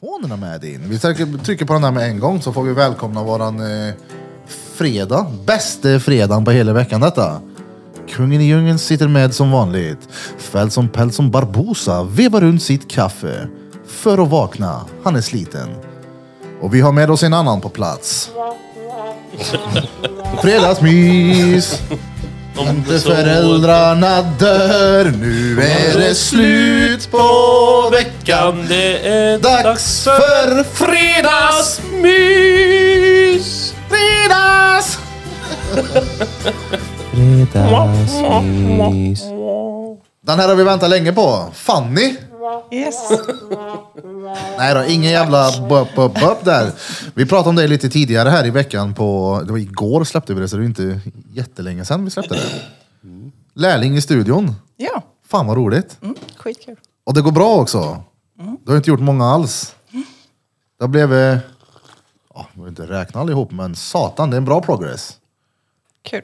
mikrofonerna med in. Vi trycker- trycker på den här med en gång så får vi välkomna våran eh, fredag. Bästa fredagen på hela veckan detta. Kungen i djungeln sitter med som vanligt. Fäll som päls som Barbosa vevar runt sitt kaffe. För att vakna. Han är sliten. Och vi har med oss en annan på plats. Fredagsmys! Om Inte föräldrarna dör, nu är det slut på veckan. Kan det är Dags för fredags! fredagsmys! Fredags! Fredagsmys. Den här har vi väntat länge på. Fanny? Yes. Nej då, ingen jävla bup, bup, bup där. Vi pratade om det lite tidigare här i veckan på... Det var igår släppte vi det, så det är inte jättelänge sedan vi släppte det. Lärling i studion. Ja, Fan vad roligt. mm, skitkul. Och det går bra också. Du har inte gjort många alls. Det har blivit... Ja, jag vill inte räkna allihop, men satan, det är en bra progress. Kul.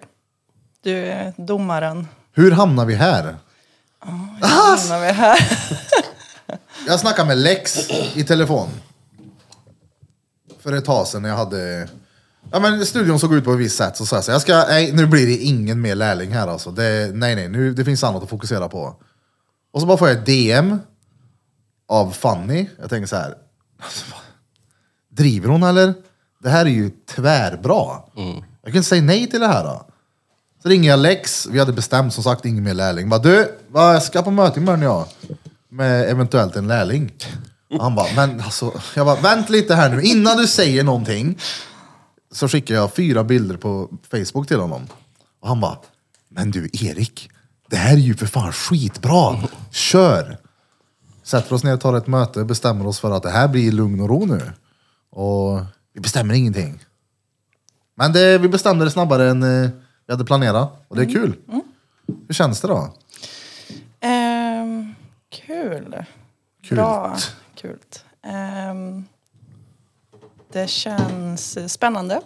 Du är domaren. Hur hamnar vi här? Hamnar vi här. Jag snackade med Lex i telefon. För ett tag sedan när jag hade... Ja men studion såg ut på ett visst sätt, så sa jag så här, jag ska, nej nu blir det ingen mer lärling här alltså. Det, nej nej, nu, det finns annat att fokusera på. Och så bara får jag ett DM av Fanny. Jag tänker så här, alltså, vad- driver hon eller? Det här är ju tvärbra. Jag kan inte säga nej till det här då. Så ringer jag Lex, vi hade bestämt som sagt ingen mer lärling. Bara, du, vad, jag ska på möte imorgon jag. Med eventuellt en lärling. Han bara, men alltså, jag bara, vänt lite här nu. Innan du säger någonting så skickar jag fyra bilder på Facebook till honom. Och han bara, men du Erik, det här är ju för fan skitbra. Kör! Sätter oss ner och tar ett möte, bestämmer oss för att det här blir lugn och ro nu. Och vi bestämmer ingenting. Men det, vi bestämde det snabbare än eh, vi hade planerat. Och det är kul. Hur känns det då? Ehm, kul. Kul. Bra. Kul. Ehm, det känns eh, spännande.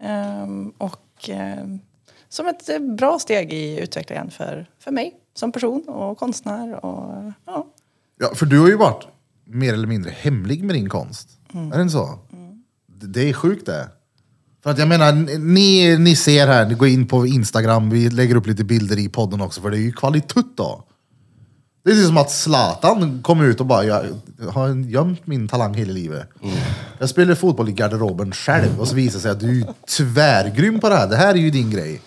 Ehm, och ehm, som ett eh, bra steg i utvecklingen för, för mig som person och konstnär. Och, ja. Ja, för du har ju varit mer eller mindre hemlig med din konst. Är det inte så? Det, det är sjukt det. För att jag menar, ni, ni ser här, ni går in på Instagram, vi lägger upp lite bilder i podden också, för det är ju kvalitet då. Det är som att Zlatan kom ut och bara, jag har gömt min talang hela livet. Jag spelar fotboll i garderoben själv och så visar det sig att du är tvärgrym på det här. Det här är ju din grej.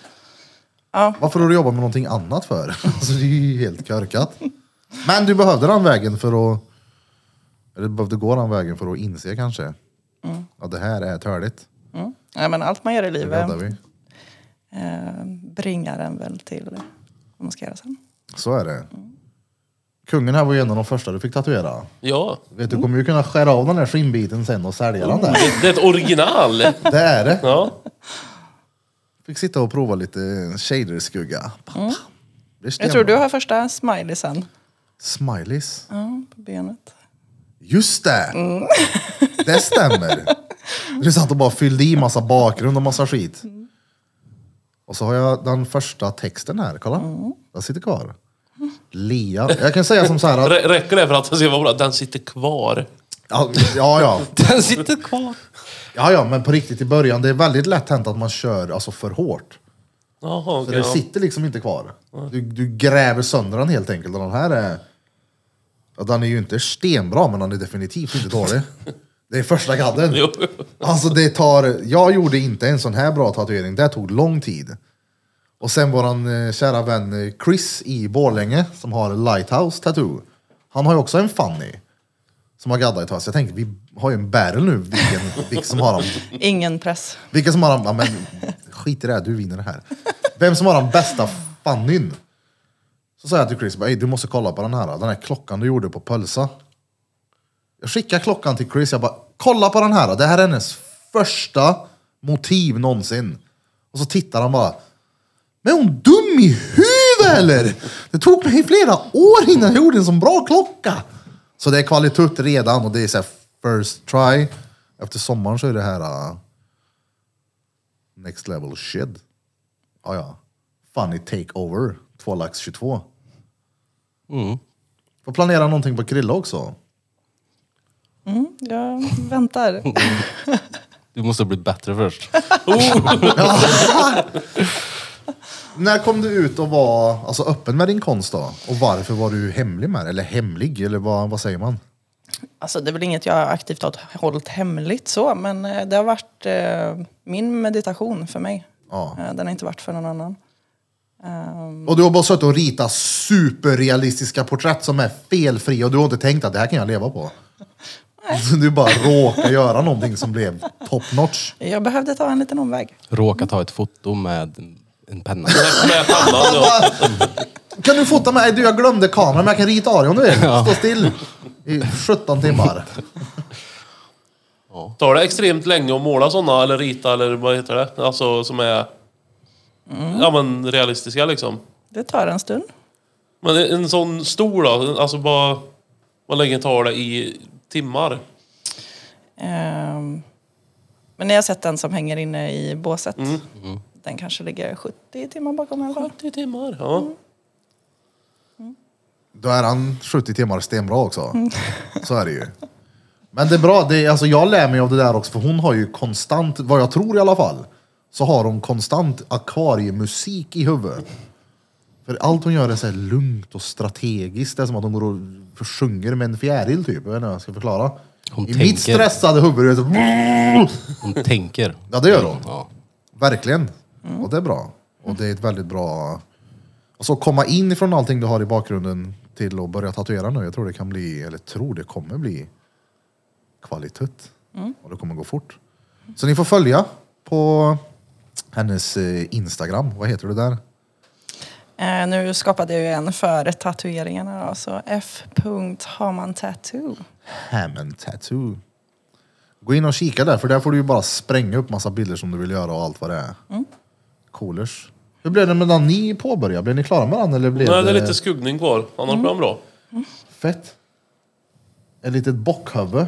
Ja. Varför har du jobbat med någonting annat för? Alltså, det är ju helt körkat. Men du behövde den vägen för att... Eller du behövde gå den vägen för att inse kanske. Att det här är törligt. Mm. Ja, men allt man gör i Det livet räddar vi. eh, bringar en väl till vad man ska göra sen. Så är det. Kungen här var ju en av de första du fick tatuera. Ja, Vet du kommer ju kunna skära av den här skinnbiten sen och sälja den där. det är ett original. Det är det. Ja. Fick sitta och prova lite shaderskugga. Mm. Jag tror du har första smileysen Smileys. ja, på benet. Just det! Det stämmer. Du satt och bara fyllde i massa bakgrund och massa skit. Och så har jag den första texten här, kolla. Den sitter kvar. Lia. Jag kan säga som så här att... Rä- Räcker det för att den ska vara bra? Den sitter kvar. Ja, ja. Den sitter kvar. Ja, ja, men på riktigt i början, det är väldigt lätt hänt att man kör alltså, för hårt. Jaha, Så okej. det sitter liksom inte kvar. Du, du gräver sönder den helt enkelt. Och den här är... Ja, den är ju inte stenbra, men den är definitivt inte dålig. Det är första gadden. Jo. Alltså det tar, jag gjorde inte en sån här bra tatuering, det tog lång tid. Och sen våran eh, kära vän eh, Chris i Borlänge som har Lighthouse Tattoo. Han har ju också en Fanny. Som har gaddat ett tag, så jag tänkte vi har ju en battle nu, vilken, vilken som har den Ingen press. vilka som har den, ja, men skit i det här, du vinner det här. Vem som har den bästa fannyn? Så sa jag till Chris, bara, "Ey, du måste kolla på den här, den här klockan du gjorde på Pölsa. Jag skickar klockan till Chris, jag bara, kolla på den här, det här är hennes första motiv någonsin. Och så tittar han bara, men är hon dum i huvudet eller? Det tog mig flera år innan jag gjorde en sån bra klocka. Så det är kvalitet redan och det är så här first try. Efter sommaren så är det här äh, next level shit. Ja, ja. Funny takeover, 2 lax 22. Mm. Får planera någonting på Krilla också. jag väntar. Du måste ha blivit bättre först. När kom du ut och var alltså, öppen med din konst då? Och varför var du hemlig med det? Eller hemlig, eller vad, vad säger man? Alltså det är väl inget jag aktivt har hållit hemligt så, men eh, det har varit eh, min meditation för mig. Ja. Eh, Den har inte varit för någon annan. Ehm, Och du har bara suttit och ritat superrealistiska porträtt som är felfria och du har inte tänkt att det här kan jag leva på. Du bara råkar göra någonting som blev top notch. Jag behövde ta en liten omväg. Råka ta ett foto med en- en penna. Med pannan då. Kan du fota mig? Du, jag glömde kameran men jag kan rita av dig om du vill. Stå still i 17 timmar. Tar det extremt länge att måla sådana eller rita eller vad heter det? Alltså som är... Mm. Ja men realistiska liksom. Det tar en stund. Men en sån stor då? Alltså bara... Vad länge tar det i timmar? Ehm, men när jag har sett den som hänger inne i båset. Den kanske ligger 70 timmar bakom i alla fall. 70 timmar? Ja. Mm. Då är han 70 timmar stenbra också. Så är det ju. Men det är bra, det är, alltså jag lär mig av det där också för hon har ju konstant, vad jag tror i alla fall, så har hon konstant akvariemusik i huvudet. För allt hon gör är så här lugnt och strategiskt. Det är som att hon går och sjunger med en fjäril typ. Jag vet inte hur jag ska förklara. Hon I tänker. mitt stressade huvud är det så... Hon tänker. Ja, det gör hon. Ja. Verkligen. Och det är bra. Och det är ett väldigt bra... Alltså komma in ifrån allting du har i bakgrunden till att börja tatuera nu. Jag tror det kan bli, eller tror det kommer bli kvalitet. Och det kommer gå fort. Så ni får följa på hennes eh, Instagram. Vad heter du där? Ehm, nu skapade jag ju en för tatueringarna då, så f.hamantattoo. Hammond Tattoo. Gå in och kika där, för där får du ju bara spränga upp massa bilder som du vill göra och allt vad det är. Coolers. Hur blev det med den ni påbörjade? Blev ni klara med den eller blev Nej, det är lite skuggning kvar. Annars Mm. blir han bra. Fett. Ett litet bockhuvud.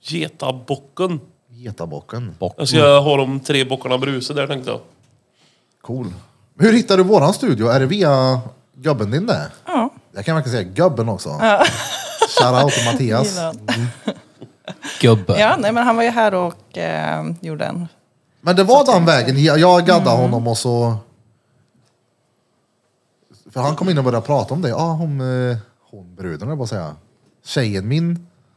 Getabocken. Getabocken. Bock. Alltså, Jag ska ha de tre bockarna bruse där tänkte jag. Cool. Hur hittar du våran studio? Är det via gubben din där? Ja, Jag kan verkligen säga gubben också. Shoutout till Mattias. gillar den. Gubbe. ja nej, men han var ju här och eh, gjorde en. Men det var den vägen. Jag jag Mm. gaddade honom och så... För han kom in och började prata om det. Ja, hon, eh, hon bruden, jag bara säga. Tjejen min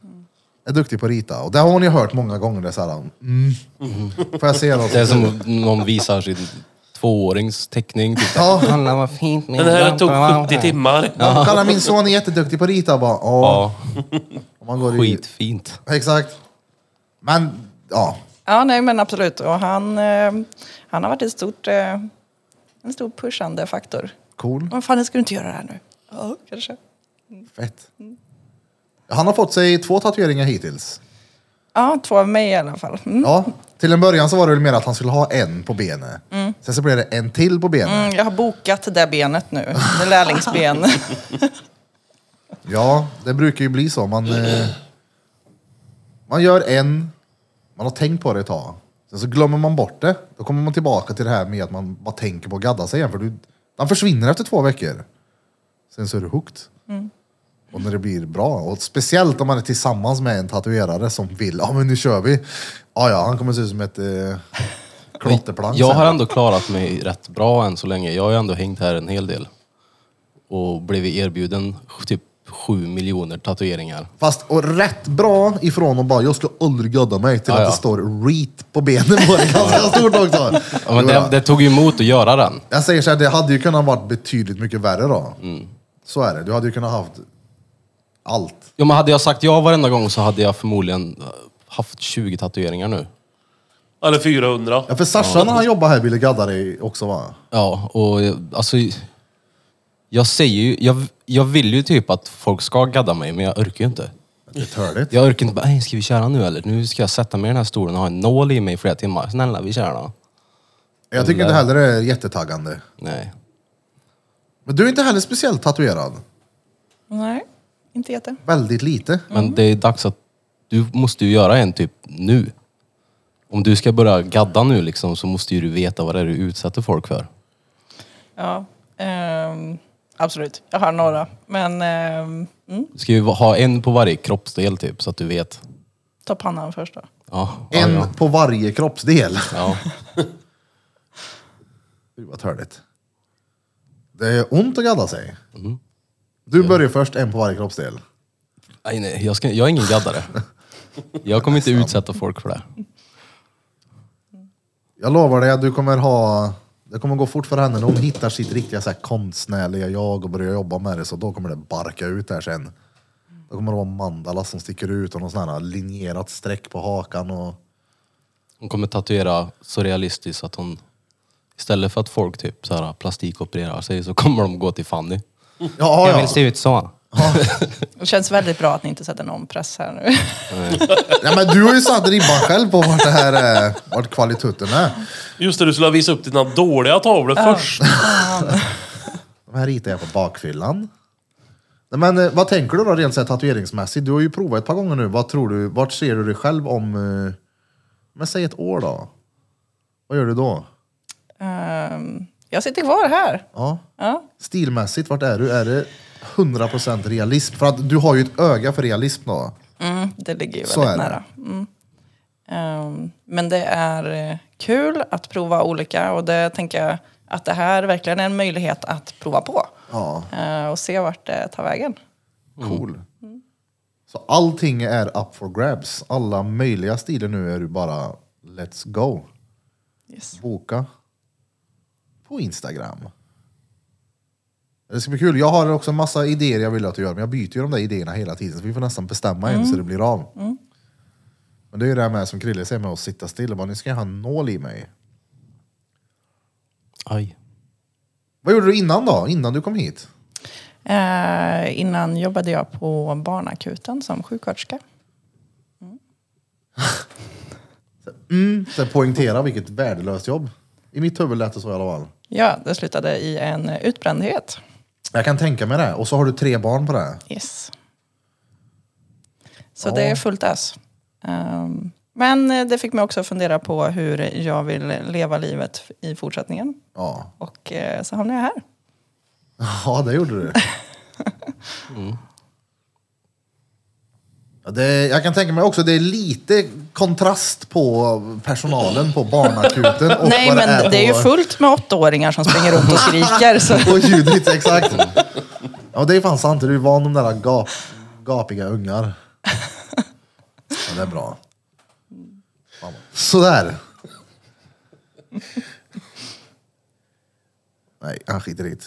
Mm. är duktig på att rita. Och det har hon ju hört många gånger. Det är så här, mm. Får jag se något? Det är som om någon visar sin tvåårings teckning. Typ. Ja. Kolla vad fint min Den här lampa tog var. 70 timmar. Ja. Kolla min son är jätteduktig på att rita. Jag Bara, ja. Ja, Om man går i, skitfint. Exakt. Men, ja. Ja, nej men absolut. Och han, eh, han har varit ett stort, eh, en stor pushande faktor. Cool. Vad fan, ska du inte göra det här nu? Ja, kanske. Fett. Han har fått sig två tatueringar hittills. Ja, två av mig i alla fall. Mm. Ja. Till en början så var det väl mer att han skulle ha en på benet. Sen så blev det en till på benet. Mm, jag har bokat det där benet nu, det lärlingsben. Ja, det brukar ju bli så. Man, eh, man gör en, man har tänkt på det ett tag. Sen så glömmer man bort det. Då kommer man tillbaka till det här med att man bara tänker på att gadda sig igen. För du, den försvinner efter två veckor. Sen så är du hooked. Och när det blir bra. Och speciellt om man är tillsammans med en tatuerare som vill, ja men nu kör vi. Ja, ja, han kommer se ut som ett eh, klotterplank. Jag sen. har ändå klarat mig rätt bra än så länge. Jag har ju ändå hängt här en hel del. Och blivit erbjuden typ sju miljoner tatueringar. Fast och rätt bra ifrån och bara, jag ska aldrig gadda mig till Ja, att ja. det står reet på benen på det ganska stort också. Ja, men Det var- det, det tog ju emot att göra den. Jag säger så här, det hade ju kunnat varit betydligt mycket värre då. Mm. Så är det, du hade ju kunnat haft allt. Jo, men hade jag sagt ja varenda gång så hade jag förmodligen eh, haft 20 tatueringar nu. Eller 400. Ja, för Sasha när han jobbade här ville gadda dig också va? Ja, och jag- alltså... Jag säger ju... Jag, jag vill ju typ att folk ska gadda mig, men jag orkar ju inte. Det är törligt. Jag orkar inte bara, "Ey, ska vi köra nu eller? Nu ska jag sätta mig i den här stolen och ha en nål i mig i flera timmar. Snälla, vi kör då. Jag tycker inte heller det är jättetaggande. Nej. Men du är inte heller speciellt tatuerad. Nej, inte jätte. Väldigt lite. Men det är dags att... Du måste ju göra en typ nu. Om du ska börja gadda nu liksom så måste ju du veta vad det är du utsätter folk för. Ja, ehm, absolut. Jag har några. Men ehm, mm, Du ska ju ha en på varje kroppsdel typ så att du vet. Ta pannan först då. Ja, ja, En ja. på varje kroppsdel. ja. Gud vad törligt. Det är ont att gadda sig. Mm. Du börjar först, en på varje kroppsdel. Nej, nej, jag, ska, jag är ingen gaddare. Jag kommer inte utsätta folk för det. Jag lovar dig att du kommer ha... Det kommer gå fort för henne när hon hittar sitt riktiga så här, konstnärliga jag och börjar jobba med det. Så då kommer det barka ut där sen. Då kommer det vara mandala som sticker ut och någon sån här linjerat streck på hakan. Och... Hon kommer tatuera så realistiskt att hon istället för att folk typ så här, plastikopererar sig så kommer de gå till Fanny. Ja, Jag ja. vill se ut så. Det känns väldigt bra att ni inte sätter någon press här nu. ja men du har ju satt ribban själv på vart det här är, vart kvalitutten är. Just det, du skulle ha visat upp dina dåliga tavlor först. De här ritar jag på bakfyllan. Nej, Men eh, vad tänker du då rent så här tatueringsmässigt? Du har ju provat ett par gånger nu. Vad tror du? Vart ser du dig själv om... eh, Men säg ett år då. Vad gör du då? Ehm, jag sitter kvar här. Ja. Ja. Stilmässigt, vart är du? Är det 100% realism? För att du har ju ett öga för realism då. Mm, det ligger ju Så väldigt är det. nära. Mm. Ehm, men det är eh, kul att prova olika och det tänker jag att det här verkligen är en möjlighet att prova på Ja, eh, och se vart det tar vägen. cool. Så allting är up for grabs. Alla möjliga stilar nu är du bara let's go. Yes. boka på Instagram. Det ska bli kul. Jag har också en massa idéer jag vill att du gör, men jag byter ju de där idéerna hela tiden. Så vi får nästan bestämma en så det blir av. Men det är ju det här med som Krille säger med att sitta still. och Bara, nu ska jag ha en nål i mig. Aj. Vad gjorde du innan då? Innan du kom hit? Eh, innan jobbade jag på barnakuten som sjuksköterska. Mm. Så här, poängtera vilket värdelöst jobb. I mitt huvud lät det så i alla fall. Ja, det slutade i en utbrändhet. Jag kan tänka mig det. Och så har du tre barn på det. Yes. Så det är fullt ös. Ehm, men eh, det fick mig också att fundera på hur jag vill leva livet f- i fortsättningen. Ja, Och eh, så hamnade jag här. ja det gjorde du. Ja, det, jag kan tänka mig också det är lite kontrast på personalen på barnakuten. Och Nej, vad men det är, ju på- fullt med åttaåringar som springer runt och skriker. Så. På Judith, exakt. Ja, det är fan sant. Du är van de där gap, gapiga ungar. Ja, det är bra. Fan, vad- Sådär. Nej, han skiter i det.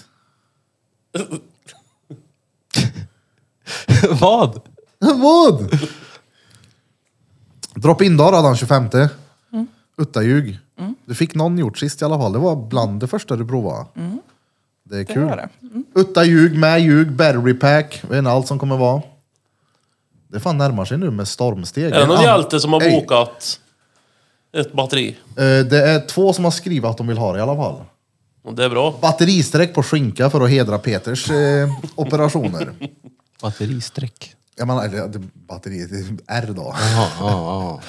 Vad? Vad? Drop in dag hade han 25. Uttaljug. Du fick någon gjort sist i alla fall. Det var bland det första du provade. Det är kul. var det. Mm. Uttaljug, med ljug, battery pack. Jag vet inte allt som kommer vara. Det fan närmar sig nu med stormsteg. Är det någon En annan- hjälte som har Ey, bokat ett batteri? eh, Det är två som har skrivit att de vill ha det i alla fall. Och Det är bra. Batteristräck på skinka för att hedra Peters eh, operationer. Batteristräck. Jag menar, eller det- batteriet, det är R då. Ja, ja,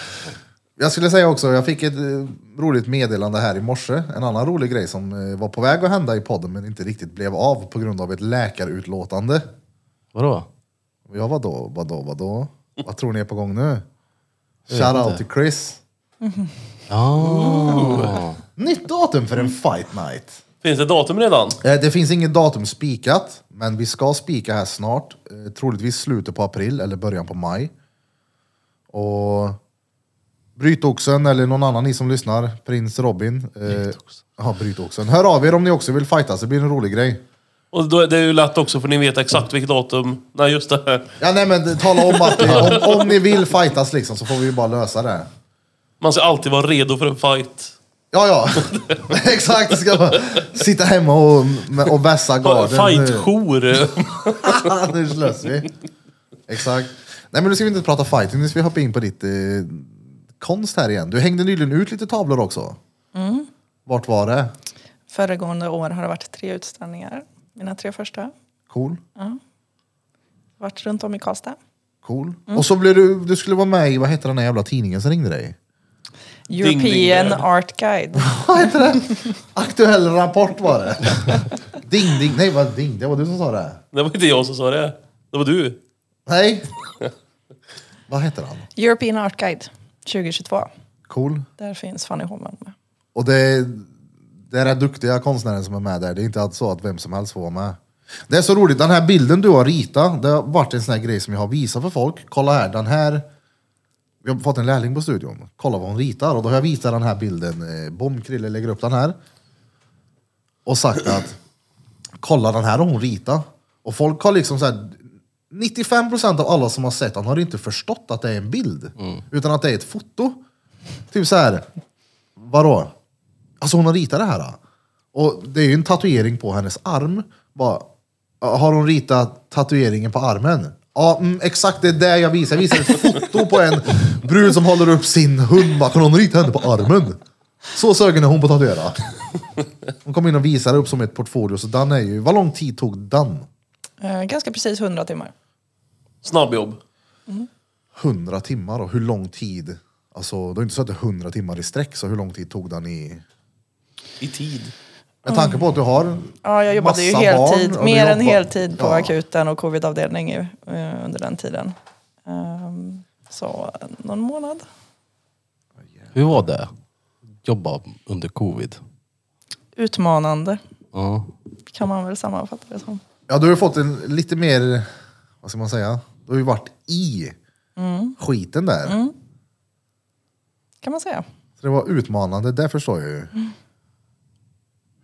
Jag skulle säga också, jag fick ett eh, roligt meddelande här i morse. En annan rolig grej som eh, var på väg att hända i podden men inte riktigt blev av på grund av ett läkarutlåtande. Vadå? Och Jag vadå, vadå, vadå? Vad tror ni är på gång nu? vet Shout out inte. till Chris. Ja. Nytt datum för en fight night. Finns det datum redan? Eh, Det finns inget datum spikat, men vi ska spika här snart. Eh, Troligtvis slutet på april eller början på maj. Och Brytoxen eller någon annan ni som lyssnar, Prins Robin. eh, Ja, Brytoxen. Hör av er om ni också vill fightas, det blir en rolig grej. Och då är det är ju lätt också för ni vet exakt vilket datum. Nej just det. Ja, nej men tala om att eh, om, om ni vill fightas liksom så får vi ju bara lösa det. Man ska alltid vara redo för en fight. Ja, ja. Exakt. det Ska bara sitta hemma och, och vässa garden. Fightjour. nu slös vi. Exakt. Nej men nu ska vi inte prata fighting, nu ska vi hoppa in på ditt eh, konst här igen. Du hängde nyligen ut lite tavlor också. Vart var det? Föregående år har det varit tre utställningar. Mina tre första. Cool? Varit runt om i Karlstad. Cool. Och så blev du, du skulle vara med i, vad hette den där jävla tidningen som ringde dig? European ding, där. Art Guide. Aktuell rapport var det. ding ding, nej vad ding, det var du som sa det. Det var inte jag som sa det. Det var du. Nej. Vad heter han? European Art Guide 2022. Cool. Där finns Fanny Holman med. Och det, det är rätt duktiga konstnärer som är med där. Det är inte alls så att vem som helst får vara med. Det är så roligt, den här bilden du har ritat, det har varit en sån här grej som jag har visat för folk. Kolla här, den här. Vi har fått en lärling på studion. Kolla vad hon ritar. Och då har jag visat den här bilden. Eh, Bom, Krille lägger upp den här. Och sagt att kolla den här har hon ritat. Och folk har liksom så här, 95% av alla som har sett den har inte förstått att det är en bild. Utan att det är ett foto. Typ så här. Vadå? Alltså hon har ritat det här. då. Och det är ju en tatuering på hennes arm. Bara, har hon ritat tatueringen på armen? Ja, mm, exakt det är det jag visar. Jag visar ett foto på en brud som håller upp sin hund. Bara, kan hon rita henne på armen? Så sögen är hon på att tatuera. Hon kom in och visade upp som ett portfolio. Så den är ju, vad lång tid tog den? Eh, ganska precis 100 timmar. Snabbjobb. 100 timmar och hur lång tid? Alltså, det är inte så att det är 100 timmar i sträck, så hur lång tid tog den i... I tid. Med tanke på att du har Ja, jag jobbade ju massa barn heltid, och du mer än jobbar- heltid på Ja. akuten och covidavdelning ju, eh, under den tiden. Ehm, så eh, någon månad. Hur var det? Jobba under covid? Utmanande Ja. kan man väl sammanfatta det som. Ja, du har ju fått en lite mer, vad ska man säga? Du har ju varit i skiten där. Mm. Kan man säga. Så det var utmanande, det förstår jag ju. Mm.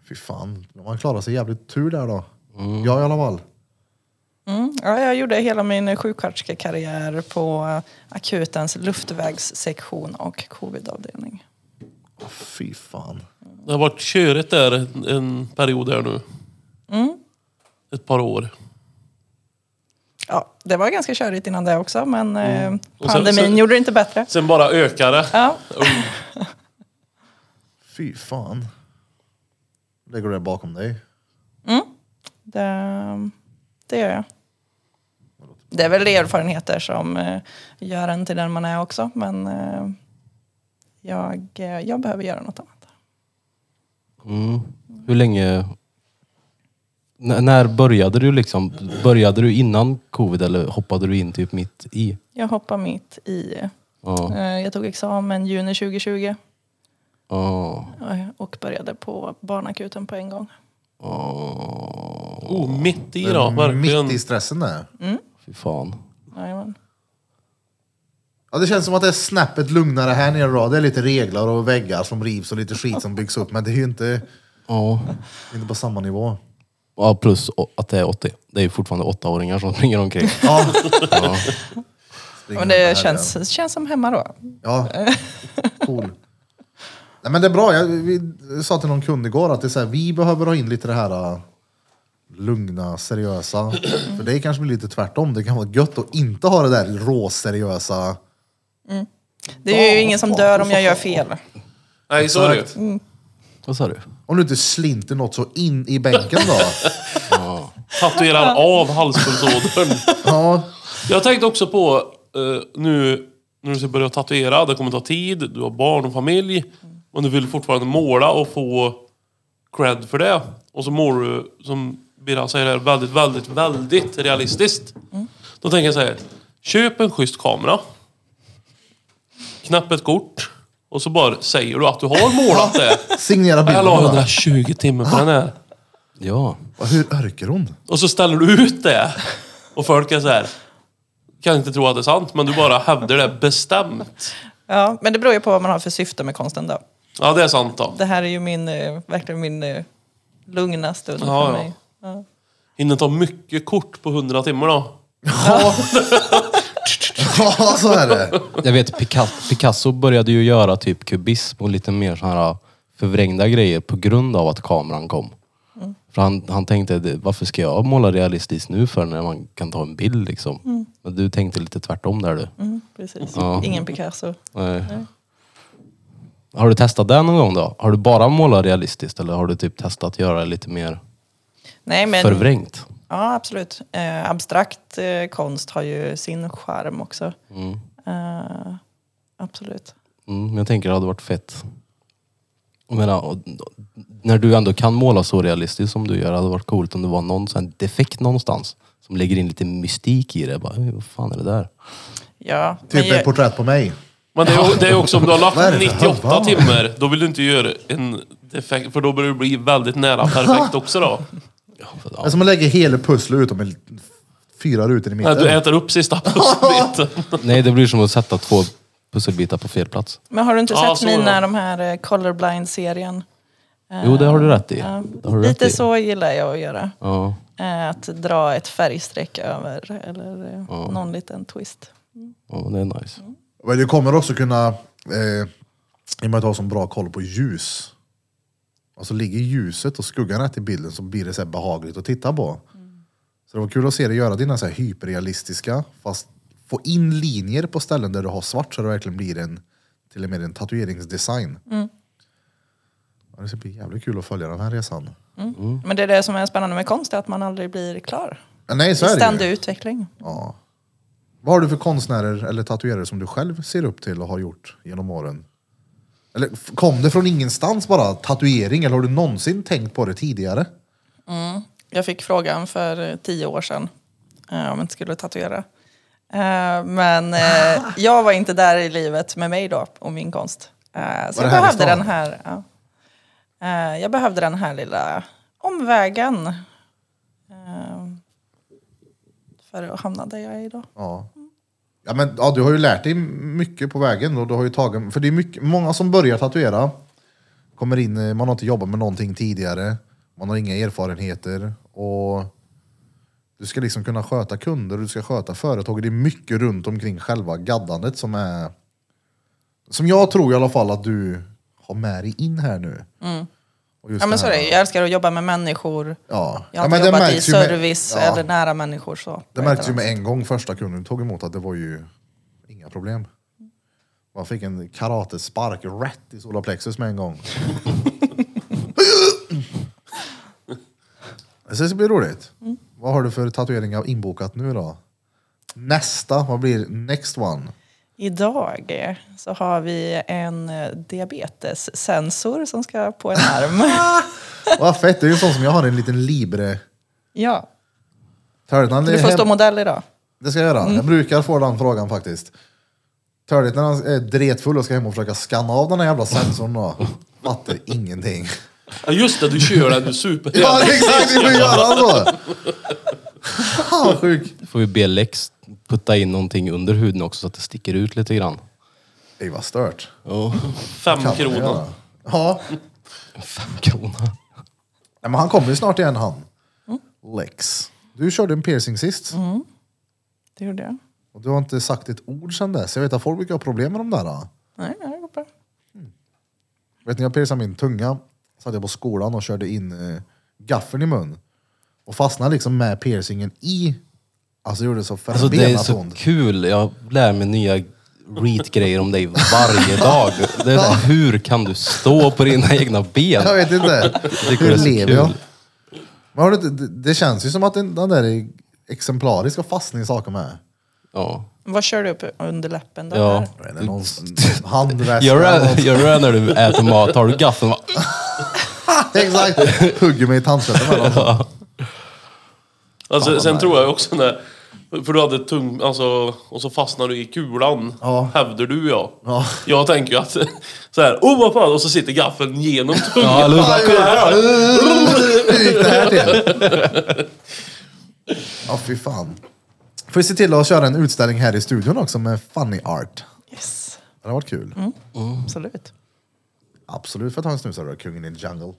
Fy fan, man klarar sig jävligt tur där då. Jag i alla fall. Mm. Ja, jag gjorde hela min sjuksköterskekarriär på eh, akutens luftvägssektion och covidavdelning. Åh, Fy fan. Det har varit körigt där en, en period här nu. Ett par år. Ja, det var ganska körigt innan det också, men eh, Mm. Och sen- pandemin sen- gjorde det inte bättre. Sen bara ökar det. Ja, Fy fan. Lägger du det bakom dig? det, det gör jag. Det är väl erfarenheter som eh, gör en till den man är också, men eh, jag, eh, jag behöver göra något annat. Mm. Hur länge... N- när började du liksom? Började du innan covid eller hoppade du in typ mitt i? Jag hoppar mitt i... Ja. Eh, jag tog examen juni 2020 Ja. eh, och började på barnakuten på en gång. Ja. Oh, mitt i Det då. är Verkligen. mitt i stressen där. Fy fan. Jajamän. Ja, det känns som att det är snäppet lugnare här nere då. Det är lite reglar och väggar som rivs och lite skit som byggs upp. Men det är ju inte, Ja. inte på samma nivå. Ja, plus o- att det är 80. Det är ju fortfarande åttaåringar som springer omkring. Ja. Ja. Men det känns, känns som hemma då. Ja, cool. Nej, men det är bra. Jag, vi sa till någon kund igår att det är så här, vi behöver ha in lite det här äh, lugna, seriösa. För det kanske blir lite tvärtom. Det kan vara gött att inte ha det där råseriösa. Det är ju ingen som dör om jag gör fel. Nej, så är det ju. Vad sa du? Om du inte slinter något så in i bänken då. Tatuerar av halspulsådern. Ja, Jag tänkte också på eh, nu när du ska börja tatuera, det kommer ta tid, du har barn och familj. Men du vill fortfarande måla och få cred för det. Och så målar du, som Birra säger här, väldigt, väldigt, väldigt realistiskt. Då tänker jag så här, köp en schysst kamera. Knäpp ett kort. Och så bara säger du att du har målat det. signera Jag bilden. la bara. 120 timmar på den här. Ja. Vad- Hur örker hon? Och så ställer du ut det. Och folk är så här. Kan inte tro att det är sant, men du bara hävdar det bestämt. Ja, men det beror ju på vad man har för syfte med konsten då. Ja, det är sant då. Det här är ju min, eh, verkligen min eh, lugna stund Ja, för ja. mig. Ja. Hinner ta mycket kort på 100 timmar då. Ja, så är det. Jag vet Picasso, Picasso började ju göra typ kubism och lite mer såna här förvrängda grejer på grund av att kameran kom. Mm. För han, han tänkte, "Det- varför ska jag måla realistiskt nu för när man kan ta en bild liksom? Men du tänkte lite tvärtom där du. Mm, precis. Ja. Ingen Picasso. Nej. Har du testat det någon gång då? Har du bara målat realistiskt eller har du typ testat att göra lite mer Nej, men, förvrängt? Ja, absolut. Eh, abstrakt eh, konst har ju sin charm också. Eh, absolut. Mm, men jag tänker det hade varit fett. Jag menar, och, när du ändå kan måla så realistiskt som du gör, hade det varit coolt om det var någon sån här defekt någonstans som lägger in lite mystik i det. Bara, "Oj, vad fan är det där? Ja, men Typ jag- ett porträtt på mig. Men det är, det är också om du har Vad är det lagt för 98 halva? timmar, då vill du inte göra en defekt, för då börjar det bli väldigt nära perfekt också då. Det är som att lägga hela pusslet utom en, fyra rutor i När mitten. du äter upp sista pusselbiten. Nej, det blir som att sätta två pusselbitar på fel plats. Men har du inte Ja, sett så mina, ja. de här eh, colorblind-serien? Jo, det har du rätt i. Det har du rätt Lite i. så gillar jag att göra. Ja. Eh, Att dra ett färgstreck över eller eh, någon liten twist. ja, det är nice. Men du kommer också kunna, eh, i och med att du har så bra koll på ljus, alltså ligger ljuset och skuggan rätt i bilden så blir det så här behagligt att titta på. Så det var kul att se dig göra dina så här hyperrealistiska, fast få in linjer på ställen där du har svart så det verkligen blir en, till och med en tatueringsdesign. Ja, det ska bli jävligt kul att följa den här resan. Mm. Men det är det som är spännande med konst, är att man aldrig blir klar. Men nej, så är det ju. Ständig utveckling. Ja. Vad har du för konstnärer eller tatuerare som du själv ser upp till och har gjort genom åren? Eller f- kom det från ingenstans bara, tatuering, eller har du någonsin tänkt på det tidigare? Jag fick frågan för eh, tio år sedan eh, om jag inte skulle tatuera. Eh, Men eh, jag var inte där i livet med mig då och min konst. Eh, Så Var det här jag i behövde stan? den här. ja. Eh, Jag behövde den här lilla omvägen. eh, För att hamna där jag är idag. Ja. Ja, men, ja, du har ju lärt dig mycket på vägen. Och du har ju tagit, för det är mycket, många som börjar tatuera, kommer in, eh, man har inte jobbat med någonting tidigare, man har inga erfarenheter. Och du ska liksom kunna sköta kunder, du ska sköta företag. Det är mycket runt omkring själva gaddandet som är... Som jag tror i alla fall att du har med dig in här nu. Och just Mm. Ja, men så här- är det. Jag älskar att jobba med människor. Ja. Jag Ja, har men inte det jobbat i märks ju med- service ja. eller nära människor. Så, Det märktes ju med en gång första kunden tog emot att det var ju inga problem. Man fick en karatespark rätt i solarplexus med en gång. Så det blir roligt. Vad har du för tatueringar inbokat nu då? Nästa, vad blir next one? Idag eh, så har vi en eh, diabetessensor som ska på en arm. Vad fett, det är ju en sån som jag har en liten libre. ja. Tölnan är Du får stå hem... modell idag. Det ska jag göra. Jag brukar få den frågan faktiskt. Törligt när han är dretfull och ska hem och försöka skanna av den här jävla sensorn då. Fattar ingenting. Ja just det, du kör den, du är super. Ja, exakt! Vi får göra så! Fan, sjuk. Då får vi be Lex putta in någonting under huden också så att det sticker ut lite grann. Det var stört. Fem Kan man kronor. göra. Ja. Fem kronor. Nej, men han kommer ju snart igen han. Lex. Du körde en piercing sist. Det gjorde jag. Och du har inte sagt ett ord sedan dess. Jag vet att folk brukar ha problem med de där. Då. Nej, det går bra. Vet ni, jag piercade min tunga. Satt jag på skolan och körde in eh, gaffeln i mun. Och fastnade liksom med piercingen i. Alltså det gjorde så Alltså det är förbenat så ont. kul. Jag lär mig nya reet-grejer om dig varje dag. Det är så här, hur kan du stå på dina egna ben? Jag vet inte. tycker det är Hur så lever kul. jag? Men har du, inte- det, det känns ju som att den, den där är exemplarisk och fastnar i saker med. Ja. Vad kör du upp under läppen? Då Ja. här? Jag vet inte, någon handväska. Gör du något. det- gör du det när du äter mat? Har du gaffeln? och bara- Exakt. Hugger mig i tandköttet med den. Alltså, sen tror jag också när... För du hade tung... Alltså, och så fastnar du i kulan. Ja. Hävdar du ja. Ja. Jag tänker ju att så här, oh vad fan! Och så sitter gaffeln genom tungan. Ja, eller hur? Kolla här då. Hur gick det här till? Ja, fy fan. Får vi se till att köra en utställning här i studion också med funny art. Yes, Det har varit kul. absolut. Absolut, för att ta en snus här då, kungen i jungle.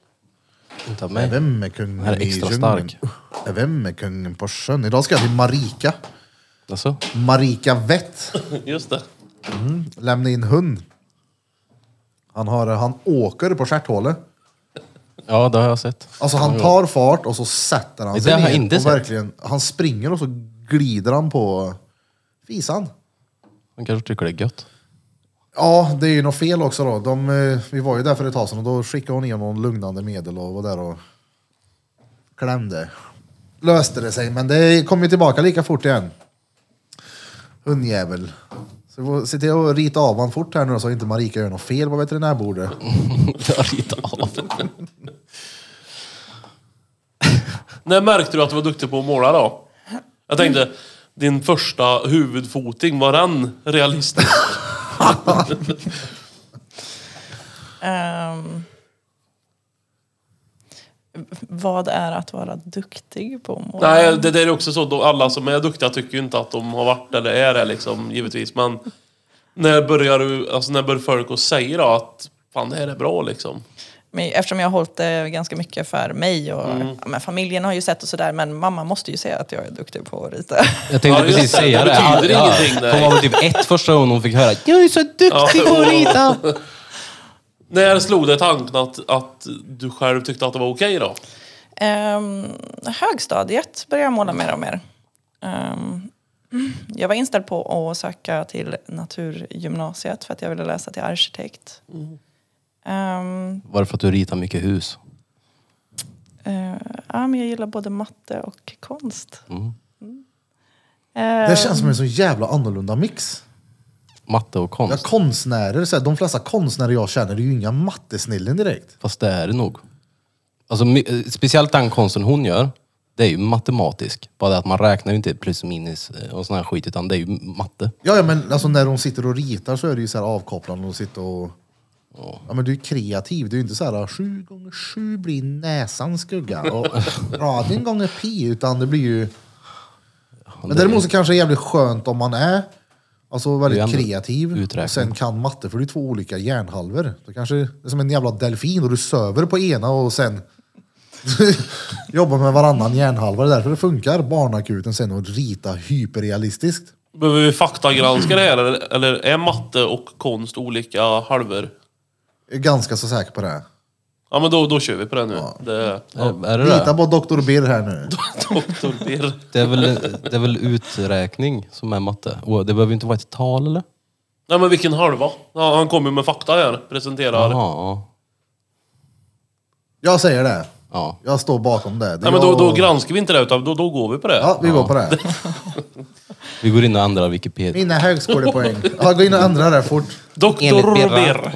Inte av mig. Vem är kungen här är i extra djungeln? stark. Vem är kungen på sjön? Idag ska jag till Marika. Alltså? Marika Vett. Just det. Lämna in hund. Han, har, han åker på stjärthålet. Ja, det har jag sett. Alltså han tar fart och så sätter han Det sig har jag ner inte och sett. verkligen, han springer och så glider han på fisan. Han kanske tycker det är gött. Ja, det är ju något fel också då. De, eh, vi var ju där för ett tag sedan och då skickade hon igenom lugnande medel och var där och klämde. Löste det sig, men det kom ju tillbaka lika fort igen. Hundjävel. Så vi får se till att rita av han fort här nu då, så inte Marika gör något fel på veterinärbordet. Jag har ritat av. När märkte du att du var duktig på att måla då? Jag tänkte, din första huvudfoting, var den realistisk? Ehm, vad är att vara duktig på att måla? Nej, det, det är också så. då Alla som är duktiga tycker ju inte att de har varit eller är det liksom, givetvis. Men när börjar du, alltså när börjar folk att säga då att fan det här är bra liksom? Men eftersom jag har hållit det ganska mycket för mig och ja, men familjen har ju sett och sådär men mamma måste ju säga att jag är duktig på att rita. Jag tänkte Ja, just precis det. Det säga det. betyder Ja, ingenting, ja. nej. Hon var väl typ ett första gången hon fick höra Jag är så duktig Ja, på att och- rita! När slog det tanken att, att du själv tyckte att det var okej då? Ehm, högstadiet började jag måla mer och mer. Ehm, jag var inställd på att söka till naturgymnasiet för att jag ville läsa till arkitekt. Ehm, Var det för att du ritar mycket hus? eh, ja, men jag gillar både matte och konst. Mm. Ehm, Det känns som en så jävla annorlunda mix. Matte och Ja, konst? konstnärer, så här, de flesta konstnärer jag känner är ju inga mattesnillen direkt. Fast det är det nog. Alltså, my- eh, speciellt den konsten hon gör, det är ju matematisk. Bara det att man räknar ju inte plus och minus eh, och sån här skit, utan det är ju matte. Ja, ja men alltså, när de sitter och ritar så är det ju så här avkopplande och sitter och... Ja men du är kreativ, du är ju inte så här sju gånger sju blir näsan skugga och raden gånger pi utan det blir ju... Men däremot så kanske det är jävligt skönt om man är alltså Det är väldigt ändå kreativ uträkning. och sen kan matte för det är två olika hjärnhalvor. Då kanske det är som en jävla delfin och du söver på ena och sen jobbar med varannan hjärnhalva. Det är därför det funkar, barnakuten sen och rita hyperrealistiskt. Behöver vi faktagranska det här eller, eller är matte och konst olika halvor? Jag är ganska så säker på det. här. Ja men då, då kör vi på det nu. Det, Är, är det Lita det? på Dr. Birr här nu. Doktor Birr. Det är, väl, det är väl uträkning som är matte? Och det behöver ju inte vara ett tal eller? Nej men vilken halva? Ja, han kommer med fakta här. Presenterar. Jaha, ja. Jag säger det. ja. Jag står bakom det. det är Nej men då, jag- då granskar vi inte det utan då, då går vi på det. Ja, vi går på det. Vi går in och ändrar Wikipedia. Mina högskolepoäng. Ja, gå in och ändra det fort. Doktor Enligt Birra.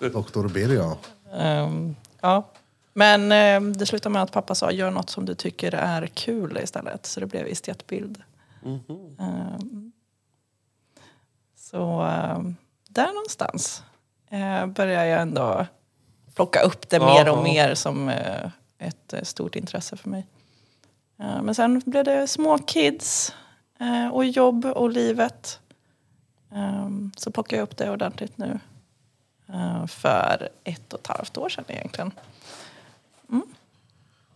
Birr. Dr. Birr ja. Ehm, ja. Men ehm, det slutade med att pappa sa gör något som du tycker är kul istället. Så det blev estetbild. Ehm, så ehm, där någonstans uh, började jag ändå plocka upp det mer Ja. och mer som eh, ett eh, stort intresse för mig. Eh, men sen blev det små kids eh, och jobb och livet. Ehm, så plockade jag upp det ordentligt nu. Eh, för ett och ett halvt år sedan egentligen.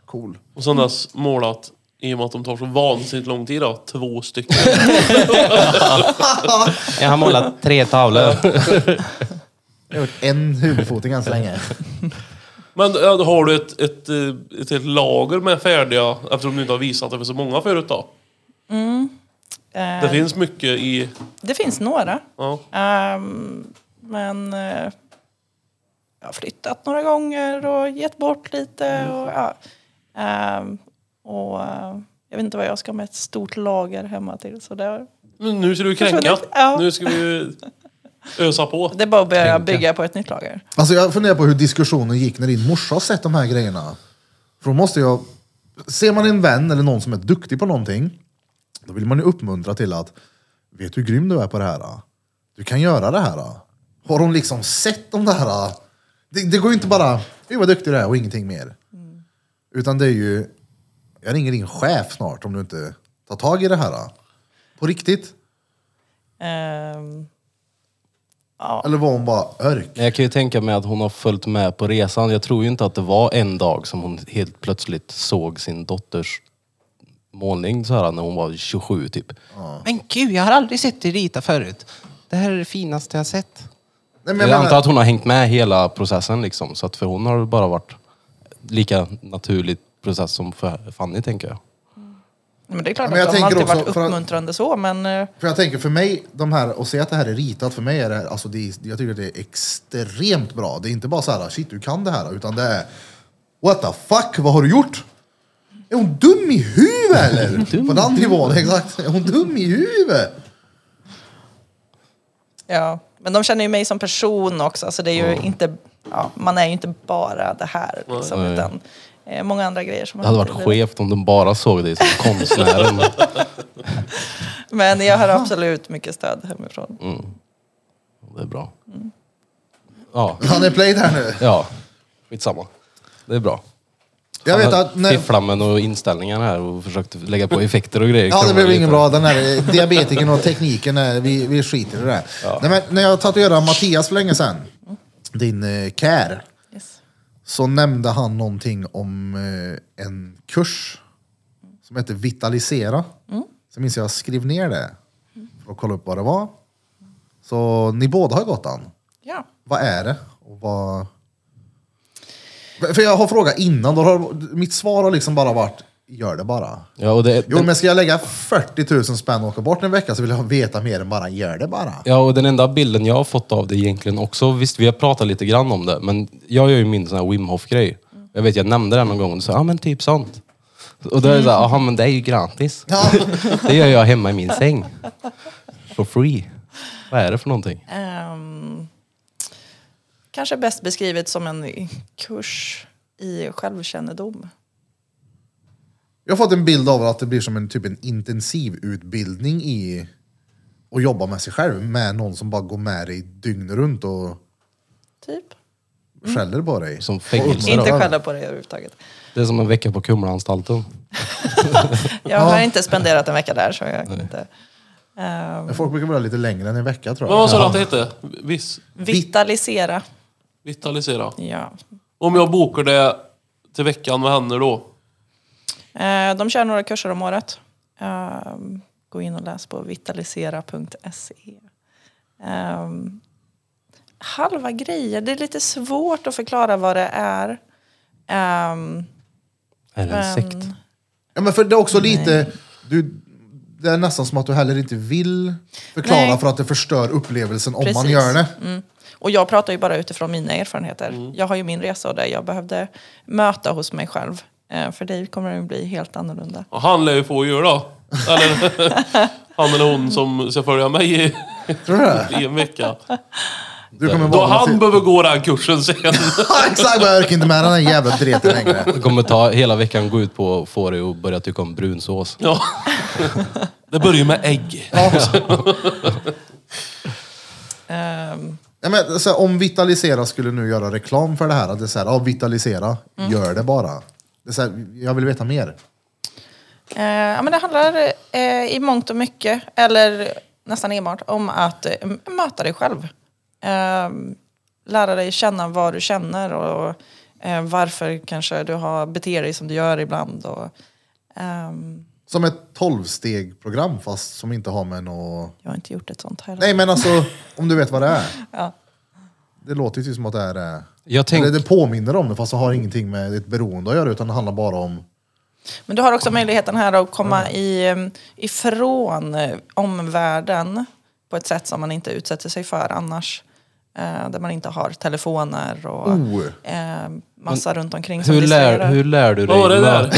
Cool. Och sen dess målat, i och med att de tar så vansinnigt lång tid då, två stycken. Jag har målat tre tavlor. Jag har gjort en huvudfoting än så länge. Men ja, då har du ett, ett, eh, ett helt lager med färdiga, eftersom du inte har visat det för så många förut då? Eh, Det finns mycket i... det finns några. Ja. Ehm, men eh, jag har flyttat några gånger och gett bort lite. Mm. Och, ja. Ehm, och, eh, jag vet inte vad jag ska med ett stort lager hemma till. Så det, Men nu ser du kränka. Försvunnit, ja. Nu ska vi ju ösa på. det är bara att börja bygga på ett nytt lager. Alltså jag funderar på hur diskussionen gick när din morsa har sett de här grejerna. För då måste jag... Ser man en vän eller någon som är duktig på någonting, då vill man ju uppmuntra till att Vet du hur grym du är på det här? då? Du kan göra det här. då." Har hon liksom sett de där? då? Det, det går ju inte bara, "Oj, vad duktig du är och ingenting mer. Utan det är ju, jag ringer din chef snart om du inte tar tag i det här. då." På riktigt. Ehm, Eller var hon bara örk? Men jag kan ju tänka mig att hon har följt med på resan. Jag tror ju inte att det var en dag som hon helt plötsligt såg sin dotters målning så här när hon var 27 typ. Men gud, jag har aldrig sett dig rita förut. Det här är det finaste jag sett. Nej, men jag Jag, menar- antar att hon har hängt med hela processen liksom. Så att för hon har det bara varit lika naturlig process som för Fanny tänker jag. men det är klart Men jag att de har tänker alltid varit också för att- uppmuntrande så. Men eh, För jag tänker för mig, de här, och säga att det här är ritat, för mig är det här, alltså det, är- jag tycker att det är extremt bra. Det är inte bara så här, shit du kan det här, utan det är, what the fuck, vad har du gjort? Är hon dum i huvudet eller? På den nivån, exakt. Är hon dum i huvudet? Ja, men de känner ju mig som Mm. person också. Så det är ju inte, ja, man är ju inte bara det här. Liksom, Nej. utan, eh, eh, många andra grejer. Som Det hade man varit inte- skevt om de bara såg dig som konstnären. Men jag har absolut mycket stöd hemifrån. Mm. Det är bra. Ja, Har ni playt här nu? ja. Skitsamma. Det är bra. Jag Han vet har att... När, Fifflat med och inställningarna här och försökt lägga på effekter och grejer. ja, det Krånglar blev lite. ingen bra. Den här eh, diabetiken och tekniken, eh, vi, vi skiter i det där. Nej, men när jag tatuerade Mattias för länge sedan, Mm. din eh, kär, Yes. så nämnde han någonting om eh, en kurs som heter Vitalisera. Så minns jag att jag skrev ner det för att kolla upp vad det var. Så ni båda har gått den. Ja. Vad är det? Och vad... För jag har frågat innan, då har, mitt svar har liksom bara varit gör det bara. Ja, och det, Jo men ska jag lägga 40 000 spänn och åka bort en vecka så vill jag veta mer än bara gör det bara. Ja, och den enda bilden jag har fått av det egentligen också, visst vi har pratat lite grann om det, men jag gör ju min sån här Wim Hof-grej. Jag vet, jag nämnde det någon gång och du sa, ja ah, men typ sånt. Och då är det såhär, jaha men det är ju gratis. Ja. Det gör jag hemma i min säng. For free. Vad är det för någonting? Ehm, kanske bäst beskrivet som en kurs i självkännedom. Jag har fått en bild av att det blir som en typ en intensiv utbildning i att jobba med sig själv med någon som bara går med dig dygnet runt och Mm. Typ. skäller på dig. Som fängelse Och då. Inte uppmuntrar. skälla på det överhuvudtaget. Det är som en vecka på Kumlaanstalten. Jag har inte spenderat en vecka där så jag kan inte. Ehm, Men Folk brukar vara lite längre än en vecka tror Men jag. vad sa du att det hette? Vis, vitalisera. vitalisera. Ja. Om jag bokar det till veckan, vad händer då? Eh, de kör några kurser om året. Ehm, gå in och läs på vitalisera.se. Ehm, halva grejer, det är lite svårt att förklara vad det är. Ehm, Är det en Men- sekt? Ja, men för det är också lite, du, det är nästan som att du heller inte vill förklara Nej. för att det förstör upplevelsen om man Precis. gör det. Mm. Och jag pratar ju bara utifrån mina erfarenheter. Jag har ju min resa och det jag behövde möta hos mig själv. Eh, För dig kommer det bli helt annorlunda. Ja, Han lär ju få att göra. Eller han eller hon som ska följa mig i, Tror du det? i en vecka. Du kommer Då vara han behöver gå den kursen sen. Ja, Exakt, jag orkar inte med den här jävla dreten längre. Det kommer ta hela veckan gå ut på att få dig att börja tycka om brunsås. Ja. Det börjar ju med ägg. Ehm, Ja, men, så här, om Vitalisera skulle nu göra reklam för det här, att det är så här, ja, Vitalisera, Mm. gör det bara. Det är så här, jag vill veta mer. eh, ja, men det handlar eh, i mångt och mycket, eller nästan enbart, om att eh, m- möta dig själv. Ehm, lära dig känna vad du känner och eh, varför kanske du har beter dig som du gör ibland. Och, ehm, Som ett tolvstegsprogram fast som inte har med något... jag har inte gjort ett sånt här. Nej men alltså, om du vet vad det är. Ja. Det låter ju typ som att det är... eh, Jag tänk- Eller det påminner om det fast det har ingenting med ett beroende att göra utan det handlar bara om... Men du har också möjligheten här att komma i, eh, ifrån eh, omvärlden på ett sätt som man inte utsätter sig för annars. Eh, där man inte har telefoner och Oh. eh, massa runt omkring som Hur lär, distraherar. hur lär du Vad dig var det där? möta,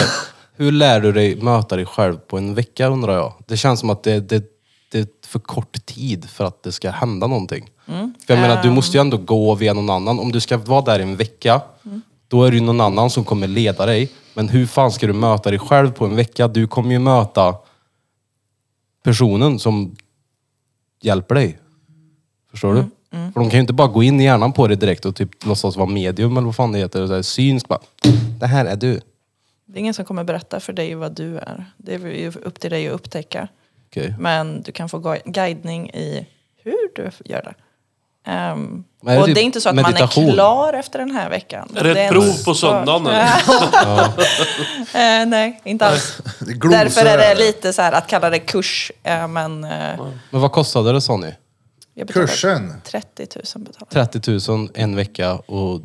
Hur lär du dig möta dig själv på en vecka undrar jag? Det känns som att det, det, det är för kort tid för att det ska hända någonting. Mm. För jag menar, Ehm. du måste ju ändå gå via någon annan. Om du ska vara där i en vecka, Mm. då är det ju någon annan som kommer leda dig. Men hur fan ska du möta dig själv på en vecka? Du kommer ju möta personen som hjälper dig. Förstår Mm, du? För de kan ju inte bara gå in i hjärnan på dig direkt och typ låtsas vara medium eller vad fan det heter. Och så här, synsk bara. Det här är du. Det är ingen som kommer berätta för dig vad du är. Det är ju upp till dig att upptäcka. Okej. Men du kan få gui- guidning i hur du gör det. Ehm, Men är det och typ det är inte så att man meditation? är klar efter den här veckan. Är det ett en prov på start. söndagen, eller? Eh, nej, inte alls. Det glosor Därför är är det det. lite så här att kalla det kurs, eh, men eh, Men vad kostade det sa ni? jag betalade Kursen! 30 000 betalade. 30 000 en vecka och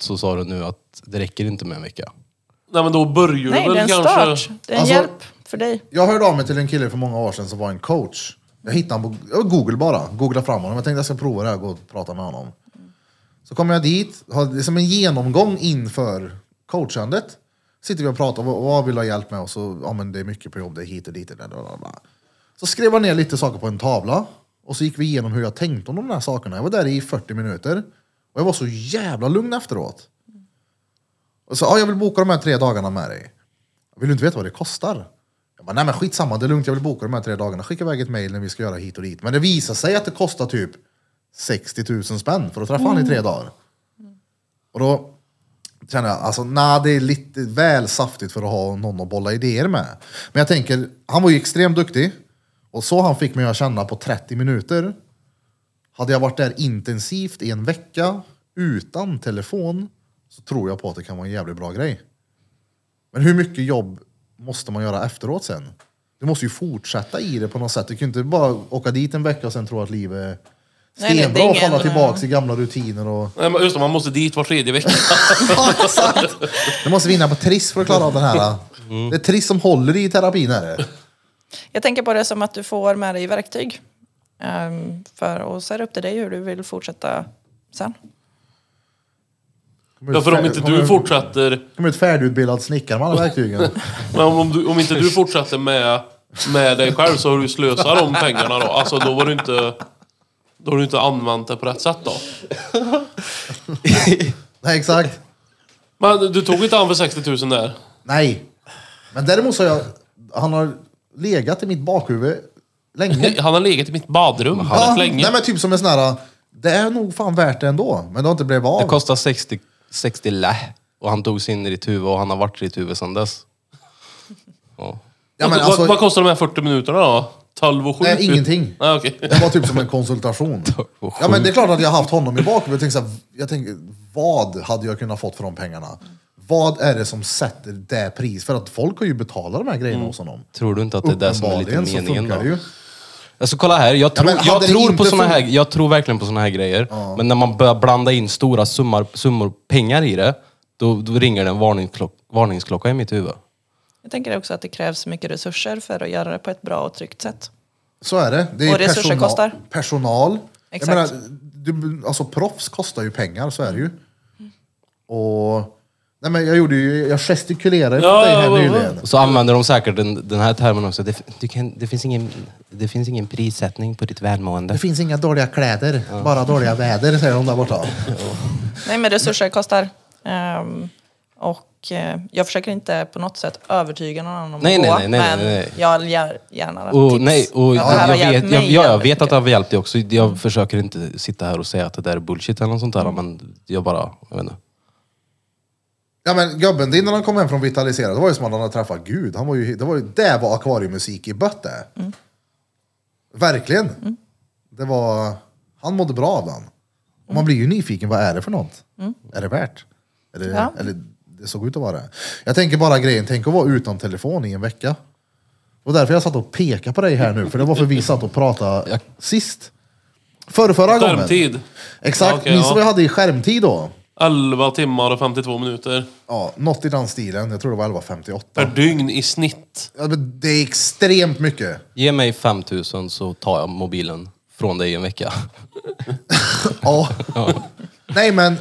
så sa du nu att det räcker inte med en vecka. Nej men då börjar Nej, du det är väl en kanske... start. Det är en Alltså- hjälp för dig. Jag hörde av mig till en kille för många år sedan som var en coach. Jag hittade honom på jag Google bara. Googlade fram honom. Jag tänkte jag ska prova det här och gå och prata med honom. Så kommer jag dit, har liksom en genomgång inför coachandet. Sitter vi och pratar, vad, vad vill du ha hjälp med? Och så, ja men det är mycket på jobb, det är hit och dit. Och där, bla, bla, bla. Så skrev jag ner lite saker på en tavla. Och så gick vi igenom hur jag tänkte om de där sakerna. Jag var där i 40 minuter. Och jag var så jävla lugn efteråt. Och så, ja, jag vill boka de här tre dagarna med dig. Vill du inte veta vad det kostar? Jag bara, nej men skitsamma, det är lugnt, jag vill boka de här tre dagarna. Skicka iväg ett mejl när vi ska göra hit och dit. Men det visar sig att det kostar typ 60 000 spänn för att träffa han i tre dagar. Och då känner jag, alltså nej det är lite väl saftigt för att ha någon att bolla idéer med. Men jag tänker, han var ju extremt duktig. Och så han fick mig att känna på 30 minuter. Hade jag varit där intensivt i en vecka utan telefon så tror jag på att det kan vara en jävligt bra grej. Men hur mycket jobb måste man göra efteråt sen? Du måste ju fortsätta i det på något sätt. Du kan ju inte bara åka dit en vecka och sen tro att livet är Nej, det är stenbra och ingen- falla tillbaka i gamla rutiner. Och... Nej, men just det, man måste dit var tredje vecka. Ja, exakt. Du måste vinna på Triss för att klara av den här. Mm. Det är Triss som håller i terapin. Är det. Jag tänker på det som att du får med dig verktyg. Ehm, för, och så är det upp till dig hur du vill fortsätta sen. Ja, för om inte du fortsätter kommer ut färdigutbildad snickare med alla verktygen. Men om, om, du, om inte du fortsätter med, med dig själv så har du slösat de pengarna då. Alltså då var du inte... Då har du inte använt det på rätt sätt då. Nej, exakt. Men du tog inte an för 60 000 där? Nej. Men däremot så har jag, han har legat i mitt bakhuvud länge. Han har legat i mitt badrum Ja, rätt länge. Nej men typ som en sån här, det är nog fan värt det ändå. Men det har inte blivit Det av. kostar 60, 60 lä. Och han tog sig in i ditt huvud och han har varit i ditt huvud sedan dess. Ja. Ja, men Vad- alltså, vad, vad kostar de här 40 minuterna då? 12 och 7? Nej, ingenting. Nej, okej. det var typ som en konsultation. vad Ja men det är klart att jag har haft honom i bakhuvudet. Jag tänkte så här, jag tänker, vad hade jag kunnat fått för de pengarna? Vad är det som sätter det pris? För att folk har ju betalat de här grejerna hos honom. Tror du inte att Mm. det är det som är lite Uppenbarligen så meningen funkar det då? ju. Alltså kolla här, jag tror, men hade jag det tror, inte på såna här, funkat- jag tror verkligen på såna här grejer. Men när man börjar blanda in stora summar, summor pengar i det, då, då ringer det en varningsklock, varningsklocka i mitt huvud. Jag tänker också att det krävs mycket resurser för att göra det på ett bra och tryggt sätt. Så är det. det är Och resurser persona- kostar. Personal. Exakt. Jag menar, du, alltså proffs kostar ju pengar, så är det ju. Och... Nej men jag gjorde ju, jag gestikulerade ju Ja, åt dig här ja, ja, ja. nyligen. Och så använder de säkert den, den här termen också. Det, fin- du kan, det, finns ingen, det finns ingen prissättning på ditt Det välmående. finns inga dåliga kläder, bara dåliga väder, säger de där borta. Nej, men resurser kostar. Ehm, och eh, jag försöker inte på något sätt övertyga någon annan om Nej, att nej, gå, nej, nej, nej, men nej. jag ger gärna Och, tips. nej, och, Ja, det här har jag, hjälpt vet, jag, mig ja, jag jävligt vet att mycket. det har hjälpt dig också. Jag försöker inte sitta här och säga att det där är bullshit eller något sånt där. Mm. Men jag bara, jag vet inte. Ja men gubben din när han kom hem från Vitalisera, det var ju som att han hade träffat Gud. Han var ju, det var ju, det var akvariemusik i bötte. Mm. Verkligen. Det var, han mådde bra av Mm. den. Och man blir ju nyfiken, vad är det för något? Är det värt? Är det, Ja. Eller det såg ut att vara det. Jag tänker bara grejen, tänk att vara utan telefon i en vecka. Det var därför jag satt och pekade på dig här nu, för det var för vi satt och pratade sist. Förra, förra gången. Skärmtid. Exakt, Ja, okej, minns du ja. vad jag hade i skärmtid då? 11 timmar och 52 minuter. Ja, något i den stilen. Jag tror det var 11.58. Per dygn i snitt. Ja, men det är extremt mycket. Ge mig 5000 så tar jag mobilen från dig i en vecka. Ja. Nej men,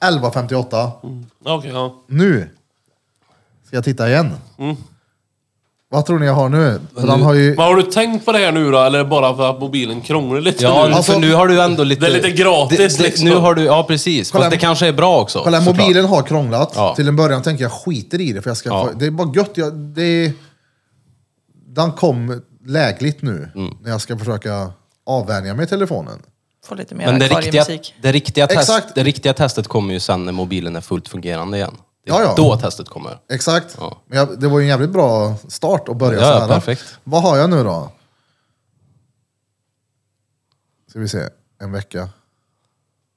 11.58. Ja, Okej, ja. Nu ska jag titta igen. Vad tror ni jag har nu? För han har ju... Men har du tänkt på det här nu då? Eller är det bara för att mobilen krånglar lite? nu? Ja, Alltså- för nu har du ändå lite... Det är lite gratis, det, liksom. Nu har du, ja precis. Kolla- Fast det kanske är bra också. Kolla, såklart. mobilen har krånglat. Ja. Till en början tänkte jag skiter i det, för jag ska Ja. det är bara gött. Jag, det är, den kom lägligt nu, när jag ska försöka avvänja mig telefonen. Få lite mer Men det riktiga, akvariemusik. det, riktiga test, Exakt. det riktiga testet kommer ju sen när mobilen är fullt fungerande igen. Det är Ja, ja. då testet kommer. Exakt. Ja. Men jag, det var ju en jävligt bra start att börja Ja, ja, sådär. perfekt. Vad har jag nu då? Ska vi se, en vecka.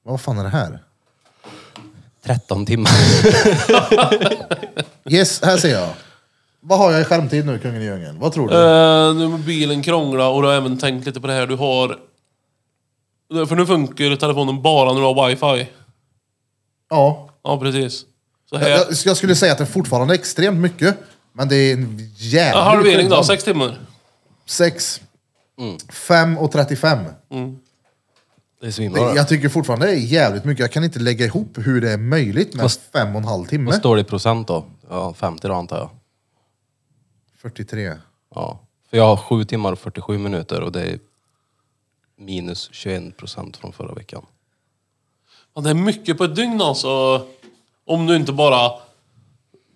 Vad fan är det här? 13 timmar. Yes, här ser jag. Vad har jag i skärmtid nu, kungen i djungeln? Vad tror du? Eh, nu har mobilen krångla och du har även tänkt lite på det här. Du har... För nu funkar telefonen bara när du har wifi. ja. Ja, precis. Så eh. Jag, här. jag, jag skulle säga att det fortfarande är extremt mycket, men det är en jävla... Ja, halvering då, sex timmar. 6. Mm. 5 och 35. Det är Det, svinbra. jag tycker fortfarande det är jävligt mycket. Jag kan inte lägga ihop hur det är möjligt med Fast- fem och en halv timme. Vad står det i procent då? Ja, 50 då antar jag. 43. Ja. För jag har 7 timmar och 47 minuter och det är minus 21 procent från förra veckan. Ja, det är mycket på ett dygn alltså. Om du inte bara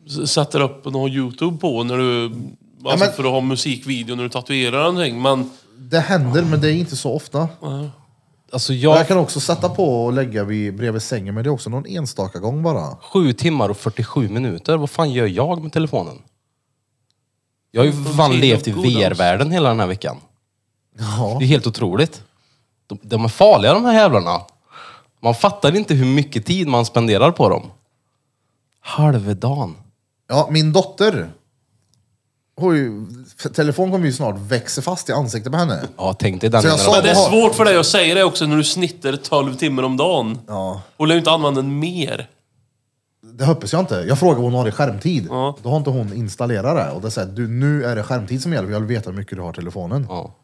s- sätter upp någon YouTube på när du... Alltså men- för att ha musikvideo när du tatuerar någonting. Men Det händer, men det är inte så ofta. Alltså Jag jag... kan också sätta på och lägga vid, bredvid sängen, men det är också någon enstaka gång bara. Sju timmar och 47 minuter, vad fan gör jag med telefonen? Jag har ju för fan tid levt i och godis. VR-världen hela den här veckan. Ja. Det är helt otroligt. De, de är farliga de här jävlarna. Man fattar inte hur mycket tid man spenderar på dem. Halvdagen. Ja, min dotter. Oj, telefon kommer ju snart växa fast i ansiktet på henne. Ja, tänk dig den Så jag sa- men det är Jaha. svårt för dig att säga det också när du snittar 12 timmar om dagen. Ja. Och lär ju inte använda den mer. Det hoppas jag inte. Jag frågade vad hon har i skärmtid. Ja. Då har inte hon installerat det. Och det säger du, nu är det skärmtid som gäller. Jag vill veta hur mycket du har i telefonen. Ja.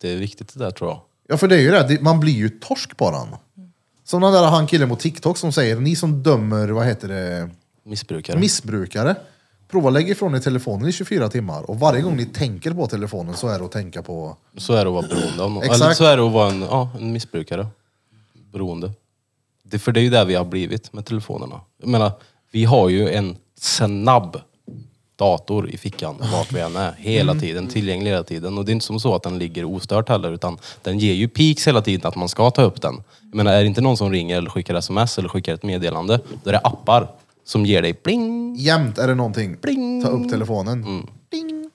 Det är viktigt det där tror jag. Ja, för det är ju det. det. Man blir ju torsk på den. Som den där han killen på TikTok som säger, ni som dömer, vad heter det, Missbrukare. missbrukare. Prova lägga ifrån er telefonen i 24 timmar. Och varje gång ni tänker på telefonen så är det att tänka på så är det att vara beroende av någon. Exakt. Eller så är det att vara en, ja, en missbrukare. Beroende. Det, för det är ju där vi har blivit med telefonerna. Jag menar, vi har ju en snabb dator i fickan vart vi än är. Hela Mm. tiden, tillgänglig hela tiden. Och det är inte som så att den ligger ostört heller utan den ger ju peaks hela tiden att man ska ta upp den. Jag menar, är det inte någon som ringer eller skickar sms eller skickar ett meddelande, då är det appar som ger dig bling. jämt är det någonting. Ta upp telefonen. Mm. Bing.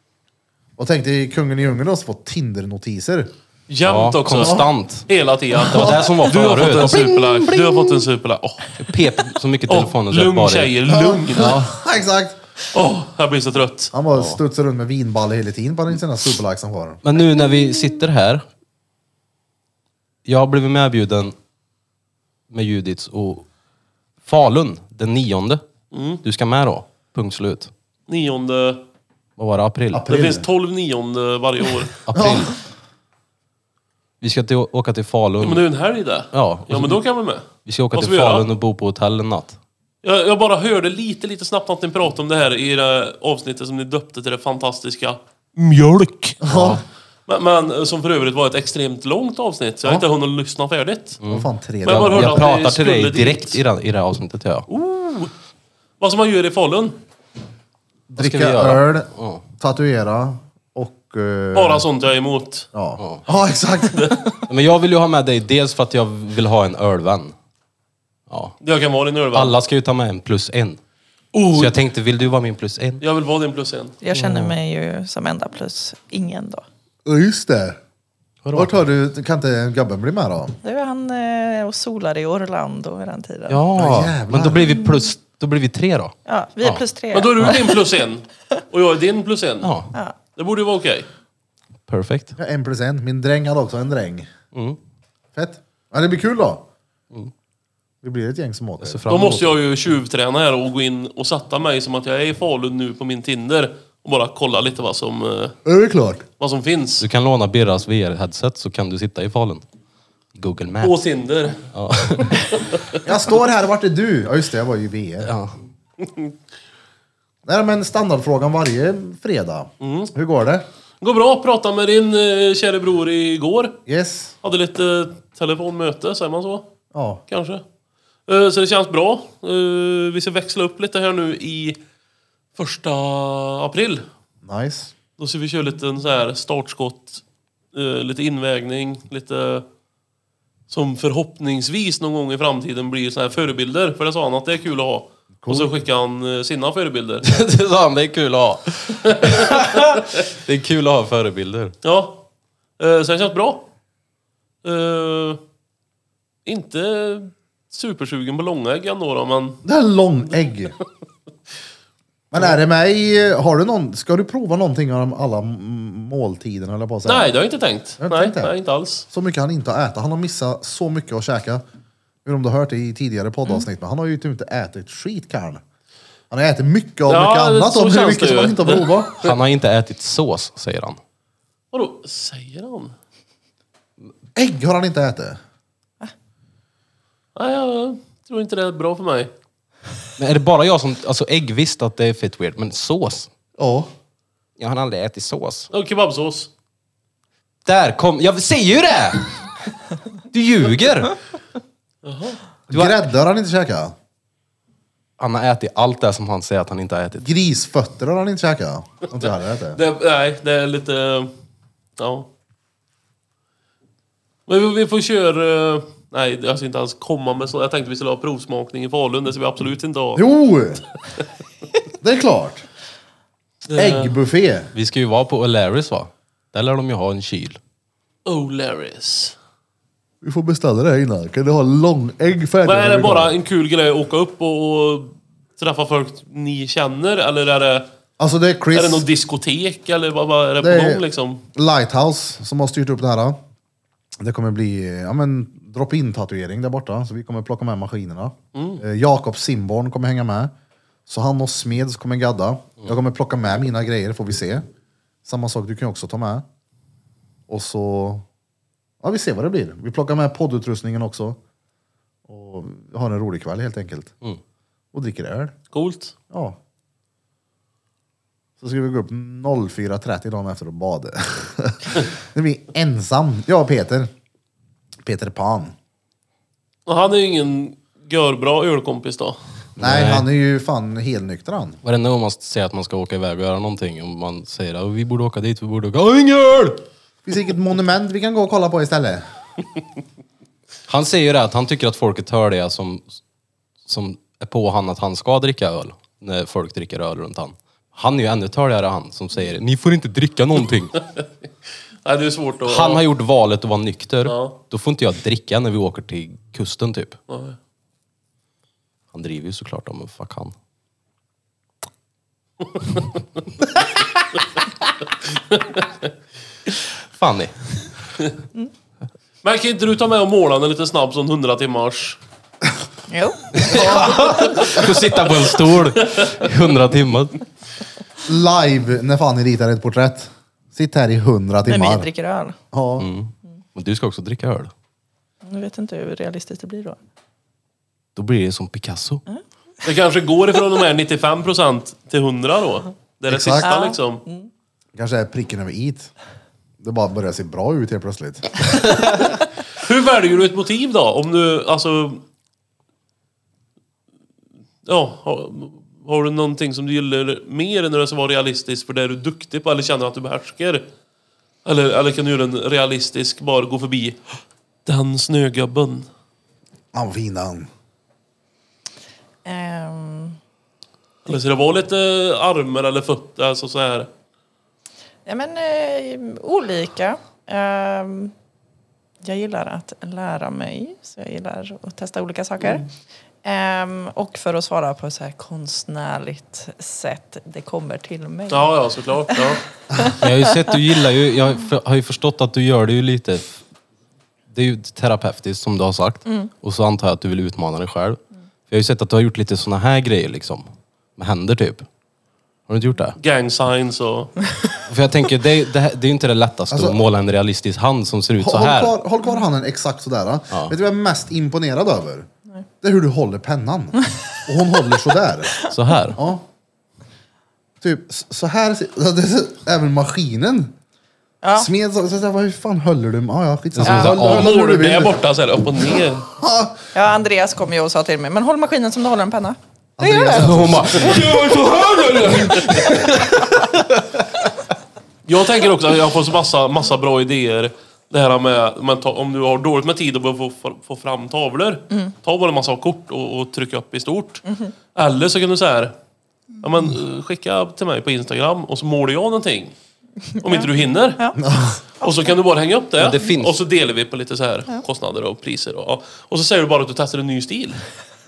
Och tänk dig kungen i djungeln också få Tinder-notiser. Jämt Ja, också. konstant. Hela tiden. Det var det som var Du har fått en förut. superlike. Du har fått en superlike. Åh, Pep så mycket Åh, telefonen så att lugn bara- tjejer, lugn. Exakt. Åh, jag blir så trött. Han bara studsar runt med vinballe hela tiden på den sina superlikes han får. Men nu när vi sitter här. Jag har blivit medbjuden med Judits och Falun den nionde. Mm. Du ska med då, punkt slut. Nionde... Vad var det, april? Det April. finns 12 nionde varje år. April. Vi ska till, åka till Men Falun. det är ju en helg det. Ja. Ja, men då kan vi med. Vi ska åka Vad till ska vi Falun göra? och bo på hotell en natt. Jag, jag bara hörde lite, lite snabbt att ni pratade om det här i det avsnittet som ni döpte till det fantastiska Mjölk. Ja. Men, men som för övrigt var ett extremt långt avsnitt, så jag har inte hunnit lyssna färdigt. Mm. Vad fan tre Men dagar. hörde Jag att ni pratar till dig skulle dit. Oh. direkt i det, i det här avsnittet. Ja. Vad som man gör i Falun. Mm. Vad ska vi Dricka göra? öl, Ja. tatuera och... eh, Bara sånt jag är emot. ja. ja, exakt. Men jag vill ju ha med dig dels för att jag vill ha en ölvän. Ja. Jag kan vara din ölvän. Alla ska ju ta med en plus en. Oh, Så jag tänkte, vill du vara min plus en? Jag vill vara din plus en. Jag känner Mm. mig ju som enda plus ingen då. Ja, Just det. Vart har du... Kan inte gubben bli med då? Det var han eh, och solade i Orlando vid den tiden. Ja, Ja, jävlar. men då blir vi plus, då blir vi tre då. Ja, vi är plus tre. Men då är du din plus en. Och jag är din plus en. Ja, ja. Det borde ju vara okej. perfekt. Ja, En plus en. Min dräng hade också en dräng. Mm. Fett. Ja, det blir kul då. Vi blir ett gäng som åker. Så fram Då emot. måste jag ju tjuvträna här och gå in och sätta mig som att jag är i Falun nu på min Tinder. Och bara kolla lite vad som, eh, Är det klart? vad som finns. Du kan låna Birras VR-headset så kan du sitta i Falun. Google Maps. På Tinder. Ja. Jag står här, vart är du? Ja just det, jag var ju i VR. Ja. Nej men standardfrågan varje fredag. Hur går det? Går bra, pratade med din eh, kära bror igår. Yes? Hade lite eh, telefonmöte, säger man så? Ja. Kanske. Eh, så det känns bra. Eh, vi ska växla upp lite här nu i första april. Nice. Då ska vi köra lite en så här startskott, eh, lite invägning, lite som förhoppningsvis någon gång i framtiden blir så här förebilder. För det sa han att det är kul att ha. Och så skickar han eh, sina förebilder. det sa han, det är kul att ha. det är kul att ha förebilder. Ja. Eh, Så det känns bra. Eh, Inte supersugen på långägg ändå då, men... Det här är långägg. Men är det mig, har du någon, ska du prova någonting av de alla m- måltiderna eller på att säga? Nej, det har jag inte tänkt. Jag har inte nej, tänkt det. nej, inte alls. Så mycket han inte har ätit. Han har missat så mycket att käka. Jag vet om du har hört det i tidigare poddavsnitt, men han har ju typ inte ätit skit karln. Han har ätit mycket av Ja, mycket det- annat så och hur känns mycket det som ju. han inte har provat. Han har inte ätit sås, säger han. Vadå, säger han? Ägg har han inte ätit. Nej, jag tror inte det är bra för mig. Men är det bara jag som... Alltså ägg, visst att det är fett weird, men sås? Ja. Jag har aldrig ätit sås. Och kebabsås. Där kom... Jag säger ju det! Du ljuger! Du har- Grädde har han inte käkat. han har ätit allt det som han säger att han inte har ätit. Grisfötter har han inte käkat. Om jag hade ätit. Det, nej, det är lite... Ja. Men vi, vi får köra... eh, Nej, alltså inte alls komma med så. Jag tänkte vi skulle ha provsmakning i Falun. Det ska vi absolut inte ha. Jo! Det är klart. Eh, Äggbuffé. Vi ska ju vara på O'Larrys va? Där lär de ju ha en kyl. Oh, Larrys. Vi får beställa det här innan. Kan du ha långägg färdigt? Men är det bara en kul grej att åka upp och, och träffa folk ni känner? Eller är det, Alltså det är Chris är det någon diskotek? Eller vad, vad är det, Det på är- gång liksom? Lighthouse som har styrt upp det här. Det kommer bli eh, ja, men, drop-in tatuering där borta. Så vi kommer plocka med maskinerna. Eh, Jakob Simborn kommer hänga med. Så han och Smeds kommer gadda. Jag kommer plocka med mina grejer får vi se. Samma sak, du kan ju också ta med. Och så... Ja, vi ser vad det blir. Vi plockar med poddutrustningen också. Och har en rolig kväll helt enkelt. Och dricker öl. Coolt. Ja. Så ska vi gå upp 04.30 dagen efter och bada. det blir ensam. Jag och Peter. Peter Pan. Och han är ju ingen görbra ölkompis då. Nej, Nej. han är ju fan helnykter han. Varenda gång man säger att man ska åka iväg och göra någonting, om man säger att vi borde åka dit, vi borde åka... "Åh, ingen öl! Finns det inget monument vi kan gå och kolla på istället? Han säger ju det att han tycker att folk är törliga som, som är på han att han ska dricka öl. När folk dricker öl runt han. Han är ju ännu törligare han som säger ni får inte dricka någonting. Nej, det är svårt att... Han har gjort valet att vara nykter. Ja. Då får inte jag dricka när vi åker till kusten typ. Nej. Han driver ju såklart om men fuck han. Fanny. Men kan inte du ta med och måla den lite snabbt som 100 timmars? Jo. Du får sitta på en stol i hundra timmar. Live när Fanny ritar ett porträtt. Sitt här i hundra När vi timmar. dricker öl. Ja. Men du ska också dricka öl. Nu vet inte hur realistiskt det blir då. Då blir det som Picasso. Det kanske går ifrån de här 95% till 100 då. Det är det Exakt. sista Ja. liksom. Kanske är pricken över it. Det bara börjar se bra ut helt plötsligt. Hur väljer du ett motiv då? Om du, alltså... Ja, har, har du någonting som du gillar mer än det som var realistiskt för det är du duktig på eller känner att du behärskar? Eller, eller kan du göra en realistisk, bara gå förbi? Den snögubben. Han var fin han. Ehm, Eller så det var lite armar eller fötter, alltså så här. ja, men, eh, olika. Ehm, jag gillar att lära mig, så jag gillar att testa olika saker. Mm. Ehm, och för att svara på ett så här konstnärligt sätt, det kommer till mig. Ja, ja, såklart. Ja. Jag har ju sett, du gillar ju, jag f- har ju förstått att du gör det ju lite, f- det är ju terapeutiskt som du har sagt. Och så antar jag att du vill utmana dig själv. För jag har ju sett att du har gjort lite såna här grejer liksom. Med händer typ. Har du inte gjort det? Gang signs och... För jag tänker, det, det, här- det är ju inte det lättaste Alltså- att måla en realistisk hand som ser ut så Håll, håll, här. kvar, håll kvar handen exakt sådär. Vet du vad jag är mest imponerad över? Det är hur du håller pennan. Och hon håller sådär. Så här. Ja. Typ s- så här. ser- ja, det ser- Även maskinen. Ja. Smed så, så, så, vad- hur fan höll du? med? Ja, ja, skitsamma. Det är Höll- som så här, höll- höll hur Målar du du där vill. borta så här upp och ner? Ja, Andreas kom ju och sa till mig, men håll maskinen som du håller en penna. Det gör Andreas, jag. Hon bara, Jag tänker också att jag får så massa, massa bra idéer. Det här med, man ta, om du har dåligt med tid och behöver få, få fram tavlor. Ta bara en massa kort och, och tryck upp i stort. Eller så kan du så här, ja, men, eh, skicka till mig på Instagram och så målar jag någonting. Om inte du hinner. Ja. Och så kan du bara hänga upp det. det finns- Och så delar vi på lite så här kostnader och priser. Och, ja. och så säger du bara att du testar en ny stil.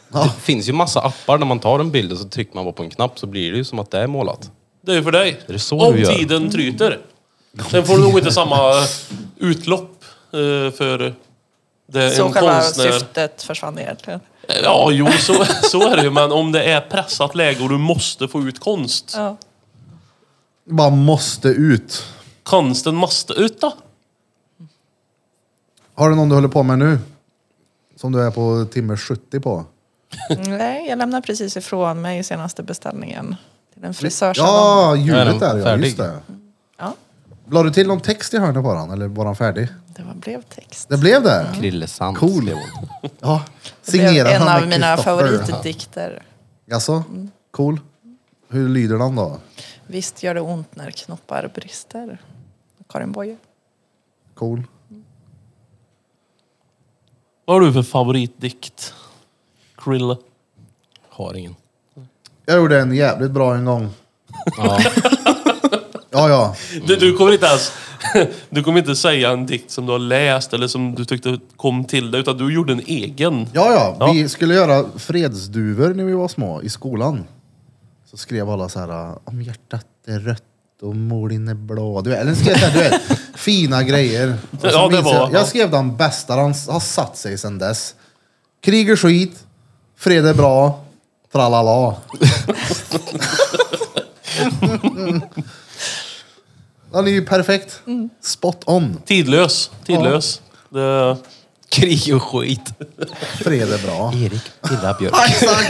det finns ju massa appar när man tar en bild och så trycker man bara på en knapp så blir det ju som att det är Mm. målat. Det är ju för dig. Är det så Om du gör? tiden tryter. Sen får du nog inte samma eh, utlopp eh, för det Så en själva konstnär... syftet försvann egentligen. Ja, jo, så, så är det ju. Men om det är pressat läge och du måste få ut konst. Ja. Bara måste ut. Konsten måste ut då. Har du någon du håller på med nu? Som du är på timme 70 på? Nej, jag lämnade precis ifrån mig senaste beställningen till en frisörsalong. Ja, Ja, den ljudet där ja. färdig. Just det. Ja, La du till någon text i hörnet på den? Eller var den färdig? det var, blev text. Det blev det? Krille Sant. Cool. skrev hon. Ja. Det blev Signerad en han av med mina Mm. Christopher. favoritdikter. Jaså? Cool. Hur lyder den då? Visst gör det ont när knoppar brister. Karin Boye. Cool. Vad har du för favoritdikt? Krille. Har ingen. Jag gjorde en jävligt bra en gång. Ja. Ja, ja. Du, du kommer inte ens... Du kommer inte säga en dikt som du har läst eller som du tyckte kom till dig, utan du gjorde en egen. Ja, ja. Vi skulle göra fredsduvor när vi var små i skolan. Så skrev alla så här, "Ah, om hjärtat är rött och molin är blå. Du vet, eller skrev så här, du vet, fina grejer. Och så Ja, det minns var- jag, jag skrev den bästa, den har satt sig sedan dess. Krig är skit, fred är bra, tralala. Den är ju perfekt. Spot on. Tidlös. Tidlös. Det, Krig och skit. Fred är bra. Erik Pilla Björk. Exakt!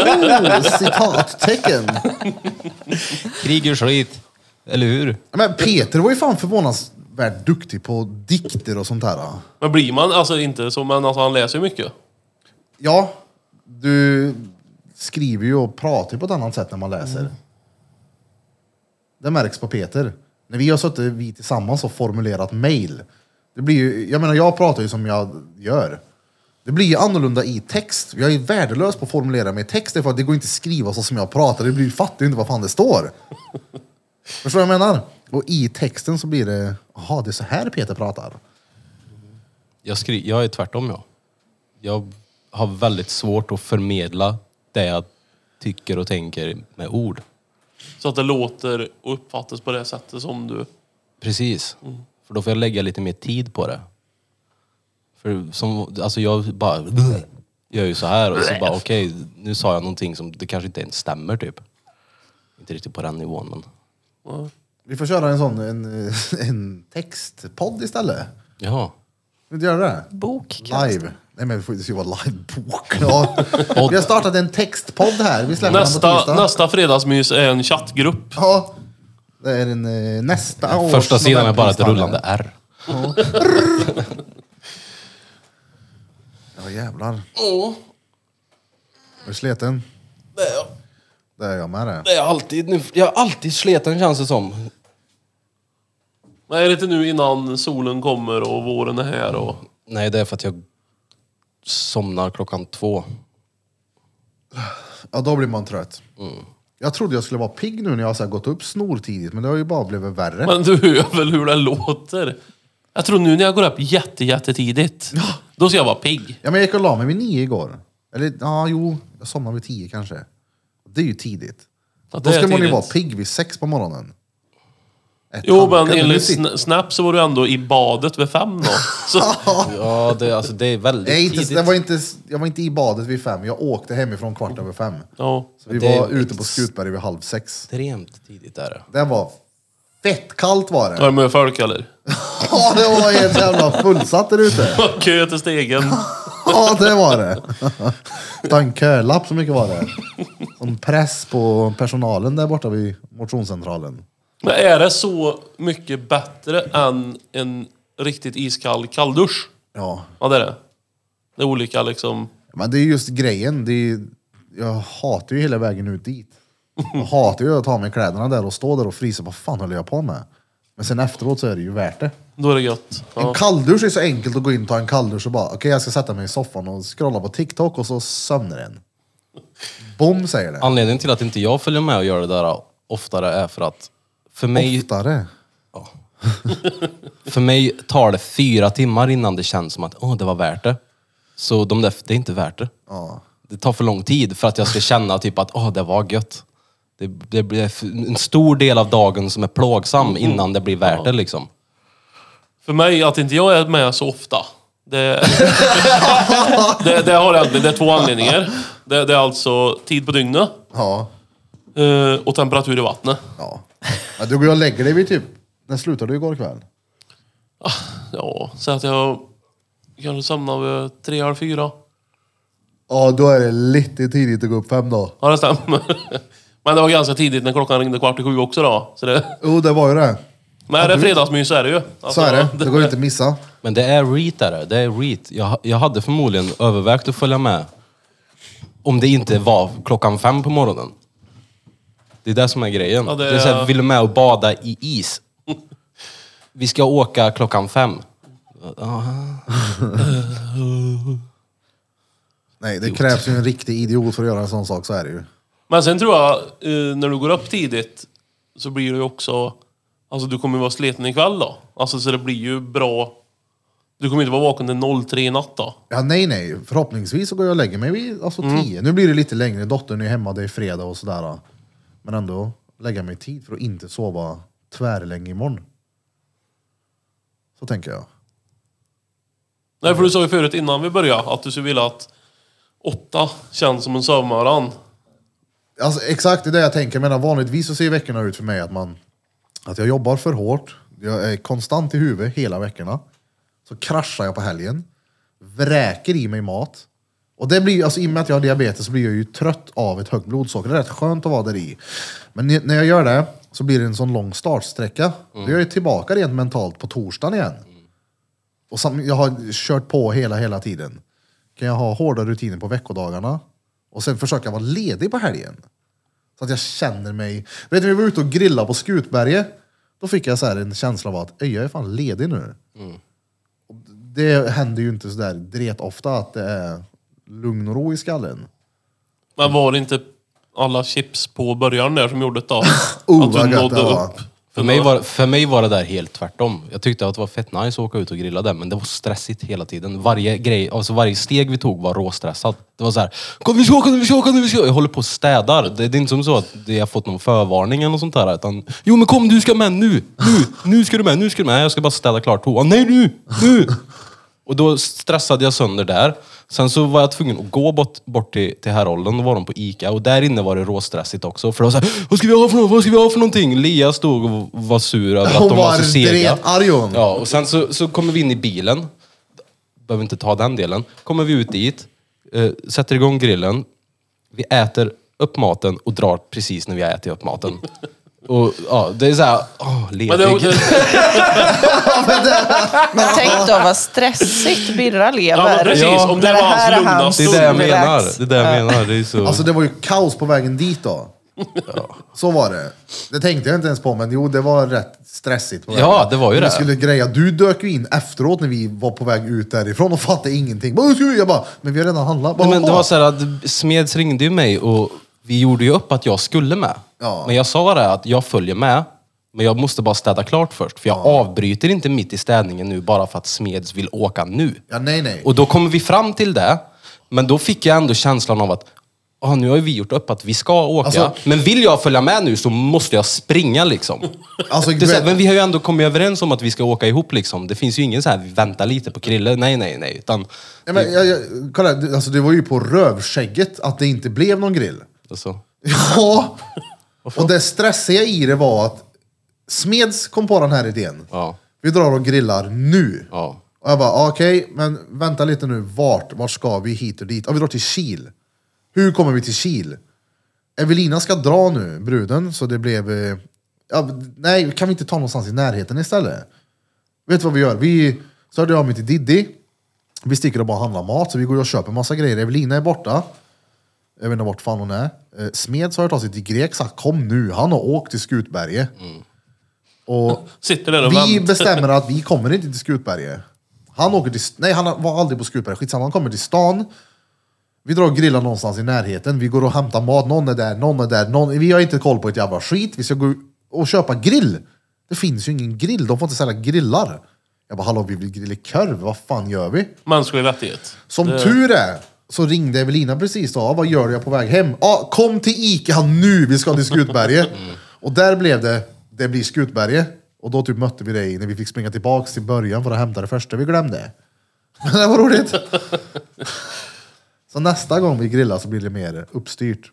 Oh, citattecken. Krig och skit. Eller hur? Ja, Men Peter var ju fan förvånansvärt duktig på dikter och sånt här. men blir man alltså inte så, men alltså han läser ju mycket. Ja, du skriver ju och pratar ju på ett annat sätt när man läser. Det märks på Peter. När vi har suttit vi tillsammans och formulerat mejl. Det blir ju, jag menar jag pratar ju som jag gör. Det blir ju annorlunda i text. Jag är värdelös på att formulera mig i text därför att det går inte att skriva så som jag pratar. Det blir fattar ju inte vad fan det står. Förstår du vad jag menar? Och i texten så blir det, jaha det är så här Peter pratar. Jag, skri- jag är tvärtom jag. Jag har väldigt svårt att förmedla det jag tycker och tänker med ord. Så att det låter och uppfattas på det sättet som du... Precis. För då får jag lägga lite mer tid på det. För som, alltså jag bara gör ju så här och så bara okej, nu sa jag någonting som det kanske inte ens stämmer typ. Inte riktigt på den nivån men. Ja. Vi får köra en sån, en, en textpodd istället. Jaha. Vill du göra det? Bok kallas Live. Nej men vi får- det ska ju vara livebok. Ja. Vi har startat en textpodd här. Vi släpper den på Nästa, tisdag. nästa fredagsmys är en chattgrupp. Ja. Det är en, eh, nästa års Första sidan är bara ett Nobelpristagare. rullande R. Ja jävlar. Är du sliten? Det är jag med det. Det är alltid nu, jag är alltid sleten känns det som. Men är det inte nu innan solen kommer och våren är här och... Nej det är för att jag somnar klockan två. Ja då blir man trött. Mm. Jag trodde jag skulle vara pigg nu när jag har så här gått upp snortidigt men det har ju bara blivit värre. Men du hör väl hur det låter? Jag tror nu när jag går upp jätte, jättetidigt, då ska jag vara pigg. Ja, men jag gick och la mig vid nio igår. Eller ja, jo, jag somnade vid tio kanske. Det är ju tidigt. Ja, Då det är ska man ju tidigt. vara pigg vid sex på morgonen. Ett Jo, men tankar, nu enligt sitter- Sna- Snap så var du ändå i badet vid fem då. Så, Ja det, alltså, det är väldigt jag, är tidigt. inte, jag, var inte, jag var inte i badet vid fem, jag åkte hemifrån kvart över fem. ja. Så vi Det är var ute på ex- Skutberg vid halv sex. Extremt tidigt är det. Det var fett kallt var Var det. det med folk eller? Ja, det var helt jävla fullsatt där ute. Kö till stegen. Ja, det var det. Ta en kölapp, så mycket var det. Sån press på personalen där borta vid motionscentralen. Men är det så mycket bättre än en riktigt iskall kalldusch? Ja, Ja, det är det. Det är olika liksom. Men det är just grejen. Det är, jag hatar ju hela vägen ut dit. Jag hatar ju att ta med kläderna där och stå där och frysa. Vad fan höll jag på med? Men sen efteråt så är det ju värt det. Då är det gött. En Ja. kalldusch är så enkelt att gå in och ta en kalldusch och bara okej jag ska sätta mig i soffan och scrolla på TikTok och så sömnar den. Bom säger det. Anledningen till att inte jag följer med och gör det där oftare är för att för mig, Oftare. för mig tar det fyra timmar innan det känns som att åh, det var värt det. Så de där, det är inte värt det. Ja. Det tar för lång tid för att jag ska känna typ att åh, det var gött. Det, det blir f- en stor del av dagen som är plågsam Mm. innan det blir värt det liksom. För mig, att inte jag är med så ofta, det, det, det, har, jag- det är två anledningar. Det, det är alltså tid på dygnet Ja. eh, och temperatur i vattnet. ja. ja du går och lägger dig vid typ, när slutade du igår kväll? Ja, så att jag kanske somnar vid tre, halv fyra. Ja då är det lite tidigt att gå upp fem då. Ja, det stämmer. Men det var ganska tidigt när klockan ringde kvart i sju också då. Så det, Jo det var ju det. men är det fredagsmys så är det ju. Alltså, Så är det. Det går ju inte att missa. Men det är REIT är det. Det är REIT. Jag, jag hade förmodligen övervägt att följa med Om det inte var klockan fem på morgonen. Det är det som är grejen. Ja, det det är... så här, är- vill du med och bada i is? Vi ska åka klockan fem. Aha. Nej, det krävs ju en riktig idiot för att göra en sån sak, så är det ju. Men sen tror jag, eh, när du går upp tidigt så blir det ju också... Alltså du kommer ju vara sliten ikväll då. Alltså så det blir ju bra... Du kommer inte vara vaken till 03 i natt då. Ja, nej, nej. Förhoppningsvis så går jag och lägger mig vid alltså, tio. Nu blir det lite längre. Dottern är hemma, det är fredag och sådär. Men ändå lägga mig i tid för att inte sova tvärlänge imorgon. Så tänker jag. Nej, för du sa ju förut innan vi började att du skulle vilja att åtta känns som en sovmorgon. Alltså, exakt det är det jag tänker. Men vanligtvis så ser veckorna ut för mig att, man, att jag jobbar för hårt. Jag är konstant i huvudet hela veckorna. Så kraschar jag på helgen. Vräker i mig mat. Och det blir, ju- alltså, I och med att jag har diabetes så blir jag ju trött av ett högt blodsocker. Det är rätt skönt att vara där i. Men ni- när jag gör det så blir det en sån lång startsträcka. Då är jag tillbaka rent mentalt på torsdagen igen. Och sam, jag har kört på hela, hela tiden. Kan jag ha hårda rutiner på veckodagarna och sen försöka vara ledig på helgen? Så att jag känner mig... Vet du, vi var ute och grillade på Skutberget. Då fick jag så här en känsla av att "Ey, jag är fan ledig nu. Och Det händer ju inte så där dret ofta att det är lugn och ro i skallen. Men var det inte alla chips på början där som gjorde det då? Oh, att vad du gött nådde det var. upp. För mig, var, för mig var det där helt tvärtom. Jag tyckte att det var fett nice att åka ut och grilla där, men det var stressigt hela tiden. Varje, grej, alltså varje steg vi tog var råstressat. Det var så här, kom vi ska åka nu, vi ska åka nu, vi ska Jag håller på och städar. Det, det är inte som så att jag har fått någon förvarning eller något sånt där. Utan, jo men kom du ska med nu, nu, nu ska du med, nu ska du med. Jag ska bara städa klart toan. Nej nu, nu! Och då stressade jag sönder där. Sen så var jag tvungen att gå bort, bort till, till Härolden, då var de på Ica. Och där inne var det råstressigt också. För de var såhär, vad ska vi ha för något? Vad ska vi ha för någonting? Lia stod och var sur över att Hon de var var så sega. dretarg hon. Ja, och sen så, så kommer vi in i bilen. Behöver inte ta den delen. Kommer vi ut dit, eh, sätter igång grillen. Vi äter upp maten och drar precis när vi har ätit upp maten. Och ja, det är såhär, åh, Men det, ledig. det, Men tänk då vad stressigt Birra ja, men lever. precis. Ja, om det när var det här hans är lugna hans- Det är stund. det jag Relax. menar. Det är det jag menar. Det är så... Alltså det var ju kaos på vägen dit då. Så var det. Det tänkte jag inte ens på, men jo, det var rätt stressigt. På vägen. Ja, det var ju vi det. Skulle greja. Du dök ju in efteråt när vi var på väg ut därifrån och fattade ingenting. Bara, "Hur ska vi?" Jag bara, men vi har redan handlat. Bara, Nej, men det "Jaha." var så här att Smeds ringde ju mig och vi gjorde ju upp att jag skulle med. Ja. Men jag sa det att jag följer med, men jag måste bara städa klart först. För jag avbryter inte mitt i städningen nu bara för att Smeds vill åka nu. Ja, nej, nej. Och då kommer vi fram till det, men då fick jag ändå känslan av att ah, nu har ju vi gjort upp att vi ska åka. Alltså- men vill jag följa med nu så måste jag springa liksom. Alltså, Det är så här, vet- men vi har ju ändå kommit överens om att vi ska åka ihop liksom. Det finns ju ingen så här, vi väntar lite på Krille. Nej, nej, nej. Utan, Nej, men, jag, jag, kolla, det- alltså, det var ju på rövskägget att det inte blev någon grill. alltså, Ja. och det stressiga i det var att Smeds kom på den här idén. ja, Vi drar och grillar nu. ja. Och jag bara, ah, okej, men vänta lite nu, vart? Vart ska vi hit och dit? Ja, vi drar till Kil. Hur kommer vi till Kil? Evelina ska dra nu, bruden, så det blev... eh, Ja, nej, kan vi inte ta någonstans i närheten istället? Vet du vad vi gör? Vi, så hörde jag av mig till Diddy. Vi sticker och bara handlar mat, så vi går och köper massa grejer. Evelina är borta. Jag vet inte vart fan hon är. Eh, Smeds har hört av sig till Grek, sagt kom nu, han har åkt till Skutberget. Och Sitter där och vi väntar. bestämmer att vi kommer inte till Skutberget. Han åker till... Nej, han var aldrig på Skutberget. Skitsamma, han kommer till stan. Vi drar och grillar någonstans i närheten. Vi går och hämtar mat. Någon är där, någon är där. Någon... Vi har inte koll på ett jävla skit. Vi ska gå och köpa grill. Det finns ju ingen grill. De får inte sälja grillar. Jag bara, hallå, vi vill grilla korv. Vad fan gör vi? Mänsklig rättighet. Som tur är så ringde Evelina precis då. "Ja, Vad gör jag på väg hem? Ja, kom till Ica nu, vi ska till Skutberget. Och där blev det, det blir Skutberget. Och då typ mötte vi dig när vi fick springa tillbaks till början för att hämta det första vi glömde. Men det var roligt. Så nästa gång vi grillar så blir det mer uppstyrt.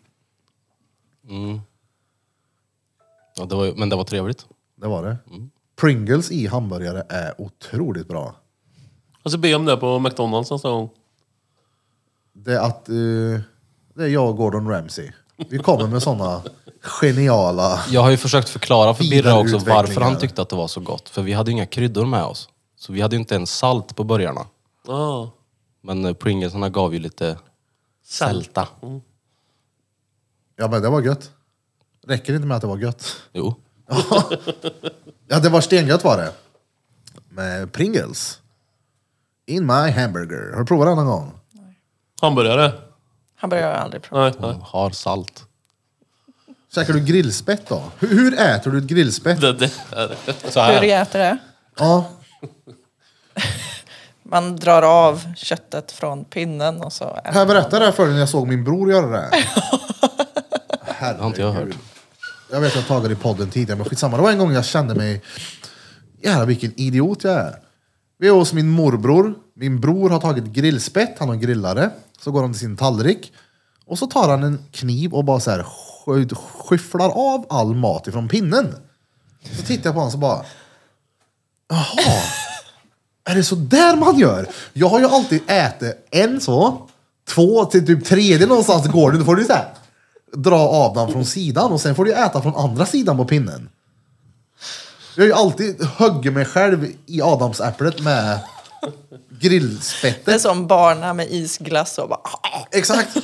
Ja, det var, ju- men det var trevligt. Det var det. Pringles i hamburgare är otroligt bra. Alltså be om det på McDonalds nästa gång. Det är att eh, det är jag och Gordon Ramsay. Vi kommer med såna geniala... Jag har ju försökt förklara för Birra Vidare också utveckling varför han här. tyckte att det var så gott. För vi hade ju inga kryddor med oss. Så Ah. vi hade ju inte ens salt på burgarna. Ja. Men eh, Pringlesarna gav ju lite Sälta. Ja men det var gött. Räcker det inte med att det var gött? Jo. Ja det var stengött var det. Med Pringles. In my hamburger. Har du provat den någon gång? Hamburgare? Hamburgare har jag aldrig provat. Nej, nej. Har salt. Käkar du grillspett då? Hur, hur äter du ett grillspett? Det, det är det. Så Hur här. jag äter det? Ja. Man drar av köttet från pinnen och så äter Kan jag berätta det här för dig när jag såg min bror göra det här? Det har inte jag hört. Jag vet jag har tagit det i podden tidigare, men skitsamma. Det var en gång jag kände mig... Jävlar vilken idiot jag är. Vi är hos min morbror. Min bror har tagit grillspett, han har grillare. Så går han till sin tallrik. Och så tar han en kniv och bara så här sky- skyfflar av all mat ifrån pinnen. Så tittar jag på honom så bara... Jaha, är det så där man gör? Jag har ju alltid ätit en så, två till typ tredje någonstans går du. Då får du så här dra av den från sidan och sen får du äta från andra sidan på pinnen. Jag har ju alltid huggit mig själv i adamsäpplet med det. är grillspettet. som barna med isglass och bara... "Ah, Exakt.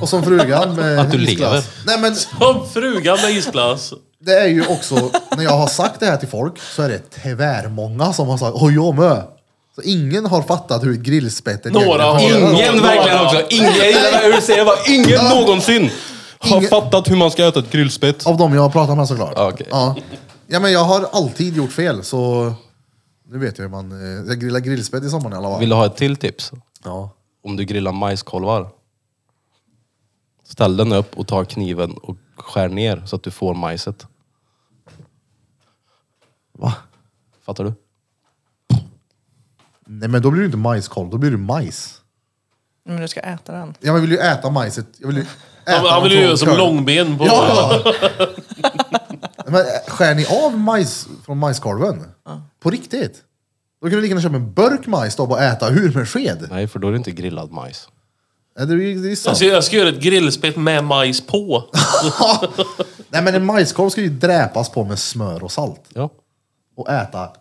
Och som frugan med Att du isglass. lever. Nej men Som frugan med isglass. det är ju också, när jag har sagt det här till folk så är det tvärmånga som har sagt oj jag med. Så ingen har fattat hur grillspettet Några egentligen har- fungerar. Ingen verkligen också. Ingen, jag gillar hur du säger bara, ingen någonsin har Ingen- fattat hur man ska äta ett grillspett. Av dem jag har pratat med såklart. Ah, Ja, okej. Ja. ja, men jag har alltid gjort fel så nu vet jag hur man... eh, Jag grillar grillspett i sommar i alla fall. Vill du ha ett till tips? Ja. Om du grillar majskolvar. Ställ den upp och ta kniven och skär ner så att du får majset. Va? Fattar du? Nej men då blir det inte majskolv, då blir det majs. Men du ska äta den. Ja, men Jag vill ju äta majset. Jag vill ju äta Han, han vill ju dem göra från som körn. långben på... Ja! men eh, skär ni av majs från majskolven? På riktigt? Då kan du lika gärna köpa en burk majs då och bara äta ur med sked. Nej, för då är det inte grillad majs. Nej. Det är ju det är ju sant. Alltså, jag ska göra ett grillspett med majs på. Nej men en majskolv ska ju dräpas på med smör och salt. Ja, Och äta... Ding.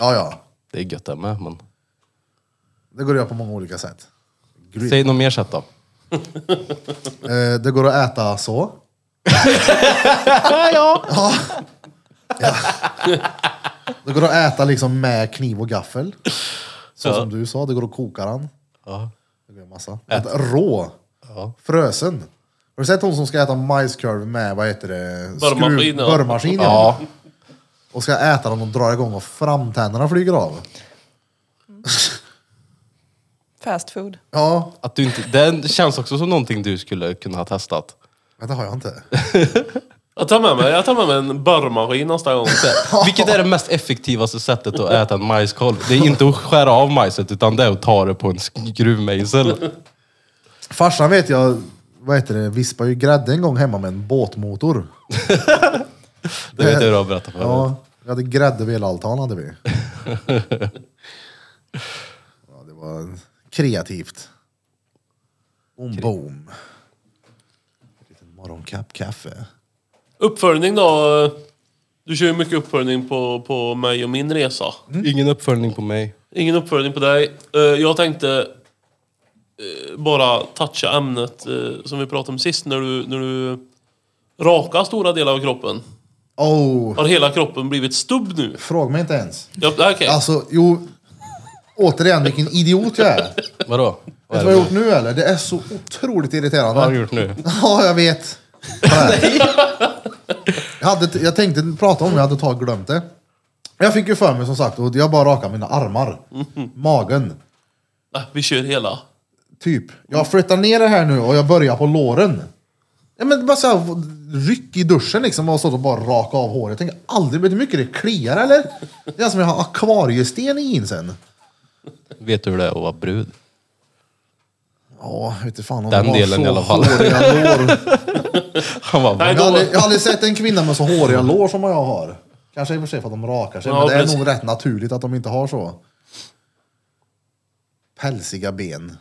Ja, ja. det är gött det med, men... Det går att göra på många olika sätt. Grill. Säg något mer sätt då. Eh, det går att äta så. ja. ja. Det går att äta liksom med kniv och gaffel. Så som du sa, det går att koka den. Ja. Det går en massa. Äta rå. Frösen. Har du sett hon som ska äta majskorv med, vad heter det? Borrmaskin, Skruv- ja. Borrmaskin, ja. Ja. Och ska äta den och drar igång och framtänderna flyger av. Fast food. Ja, Att du inte, det känns också som någonting du skulle kunna ha testat. men det har jag inte. Jag tar med mig, jag tar med mig en borrmaskin nästa gång. Vilket är det mest effektivaste sättet att äta en majskolv? Det är inte att skära av majset, utan det är att ta det på en skruvmejsel. Farsan vet jag, vad heter det, vispade ju grädde en gång hemma med en båtmotor. Det vet jag du har berättat för mig. Ja, vi hade grädde vid hela altan hade vi. ja, det var kreativt. Om boom. Liten morgonkapp kaffe. Uppföljning då. Du kör ju mycket uppföljning på, på mig och min resa. Ingen uppföljning på mig. Ingen uppföljning på dig. Eh, Jag tänkte eh, bara toucha ämnet eh, som vi pratade om sist när du, när du rakade stora delar av kroppen. Oh, Har hela kroppen blivit stubb nu? fråga mig inte ens. Ja, okej. Alltså, jo. Återigen, vilken idiot jag är. Vet Vadå? du vad jag har gjort nu eller? Det är så otroligt irriterande. Vad har du gjort nu? Ja, jag vet. Nej. Jag, hade, jag tänkte prata om det, jag hade tagit glömt det. Jag fick ju för mig som sagt, och jag bara rakade mina armar. Magen, Nej, Vi kör hela. typ. Jag flyttar ner det här nu och jag börjar på låren. Ja, men bara så här, ryck i duschen liksom och så och bara raka av håret. Jag tänker aldrig, vet du hur mycket det kliar eller? Det är som jag har akvariesten i insen. Vet du hur det är att vara brud? Ja, vet du fan om Den de har delen så i alla fall. håriga lår. Han bara, Jag har, Nej, då, aldrig, jag har aldrig sett en kvinna med så håriga lår som jag har. Kanske i och för sig för att de rakar sig, Ja, men det är precis. nog rätt naturligt att de inte har så. Pälsiga ben.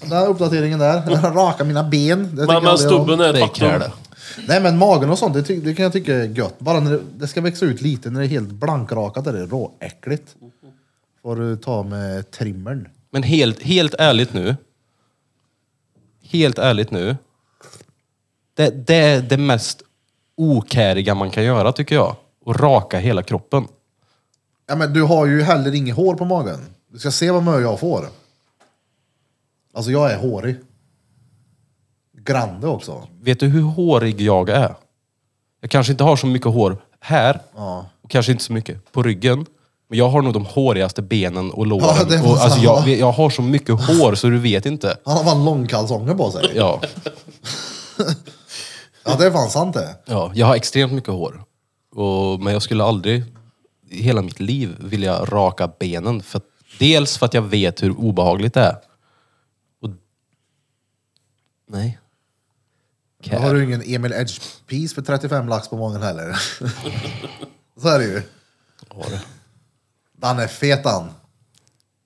Så Den här uppdateringen där, raka mina ben. Det men, tycker men jag aldrig om. stubben är det ett är kräl. faktum. det. Nej men magen och sånt, det, ty- det kan jag tycka är gött. Bara när det, det ska växa ut lite, när det är helt blankrakat är det råäckligt. Får du ta med trimmern. Men helt, helt ärligt nu. Helt ärligt nu. Det, det är det mest okäriga man kan göra tycker jag. Och raka hela kroppen. Ja, men du har ju heller inget hår på magen. Du ska se vad mö jag får. Alltså jag är hårig. Grande också. Vet du hur hårig jag är? Jag kanske inte har så mycket hår här. Ja. Och kanske inte så mycket på ryggen. Men jag har nog de hårigaste benen och låren. Ja, det och, måste alltså, han jag, ha. jag har så mycket hår så du vet inte. Han har fan långkalsonger på sig. Ja, Ja det är fan sant det. ja jag har extremt mycket hår. Och, men jag skulle aldrig i hela mitt liv vilja raka benen. För, att- dels för att jag vet hur obehagligt det är. Och, nej. Då har du ingen Emil Edge piece för 35 lax på magen heller. Så är det ju. Har det. Han är fet han.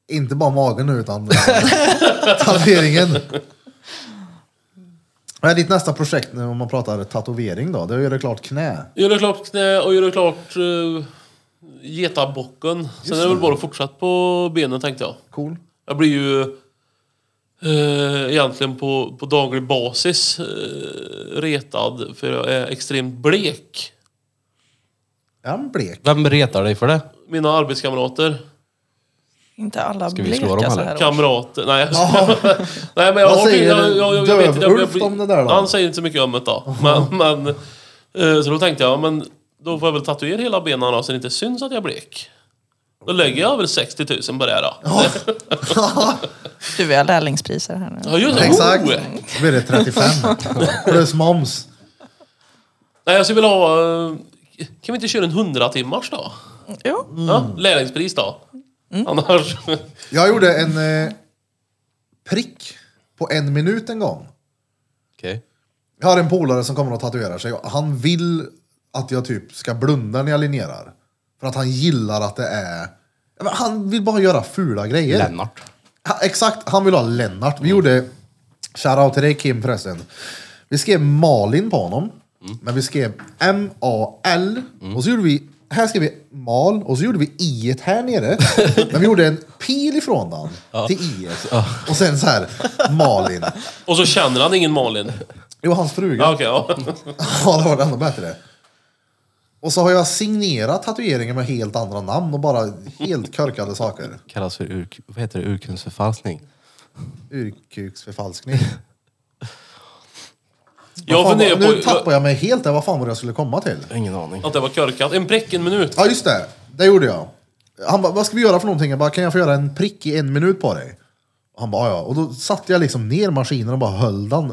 Inte bara magen nu utan eh, tatueringen. Vad är ditt nästa projekt nu om man pratar tatuering då? Det är ju det klart knä. Göra klart knä och göra klart uh, getabocken. Sen är det väl bara att fortsätta på benen tänkte jag. Cool. Jag blir ju eh, egentligen på, på daglig basis eh, retad för jag är extremt blek. Är han blek? Vem retar dig för det? Mina arbetskamrater, Inte alla Ska vi slå bleka dem, så eller? här års. kamrater... Nej, jag skojar. Ja, Nej, men jag Vad har säger jag, jag, jag, jag vet inte. Jag, jag, Dövulf om det där då? Han säger inte så mycket om det då. Men, men, eh, så då tänkte jag, men då får jag väl tatuera hela benen då, så det inte syns att jag är blek. Då lägger jag väl 60 000 på det här då. Du, vi har lärlingspriser här nu. Ja, just det. exakt. Oh! Då blir det 35. Plus moms. Nej, jag skulle vilja ha... eh, Kan vi inte köra en 100 timmars då? Mm. Jo, Ja, lärlingspris då. Annars... Jag gjorde en eh, prick på en minut en gång. Okej. Jag har en polare som kommer och tatuerar sig och han vill att jag typ ska blunda när jag linjerar. För att han gillar att det är... Ja, men Han vill bara göra fula grejer. Lennart. Ha, exakt, han vill ha Lennart. Vi gjorde, shoutout till dig Kim förresten. Vi skrev Malin på honom. Men vi skrev M-A-L. Och så gjorde vi, här skrev vi Mal och så gjorde vi i här nere. men vi gjorde en pil ifrån den till i Och sen så här, Malin. Och så känner han ingen Malin. Det var hans fruga. Ja, okej, ja. Ja, det var det ännu bättre. Och så har jag signerat tatueringen med helt andra namn och bara helt körkade saker. Kallas för ur, vad heter det? urkundsförfalskning. Urkuksförfalskning. Jag Vad fan funderar var- nu på tappar jag mig helt där, vad fan var det jag skulle komma till? Jag har Ingen aning. att det var körkat. En prick, en minut. Ja, just det. Det gjorde jag. Han bara, vad ska vi göra för någonting? Jag bara, kan jag få göra en prick i en minut på dig? Och han bara, ja. Och då satte jag liksom ner maskinen och bara höll den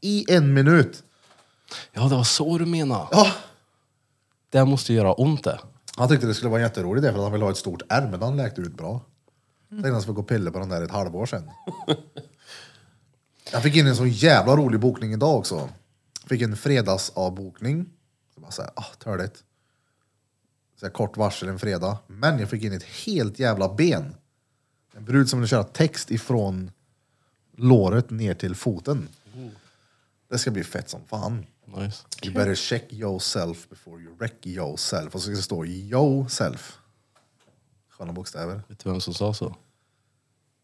i en minut. Ja, det var så du menade. Ja. Det här måste göra ont det. Han tyckte det skulle vara jätteroligt det för att han ville ha ett stort ärr, men han läkte ut bra. Tänkte han skulle gå och pilla på den där ett halvår sedan. Jag fick in en sån jävla rolig bokning idag också. Fick en fredagsavbokning. Så bara såhär, ah, törligt. Så här, kort varsel en fredag. Men jag fick in ett helt jävla ben. En brud som ville köra text ifrån låret ner till foten. Det ska bli fett som fan. Nice. You better check yourself before you wreck yourself. Och så ska det stå yourself. Sköna bokstäver. Vet du vem som sa så?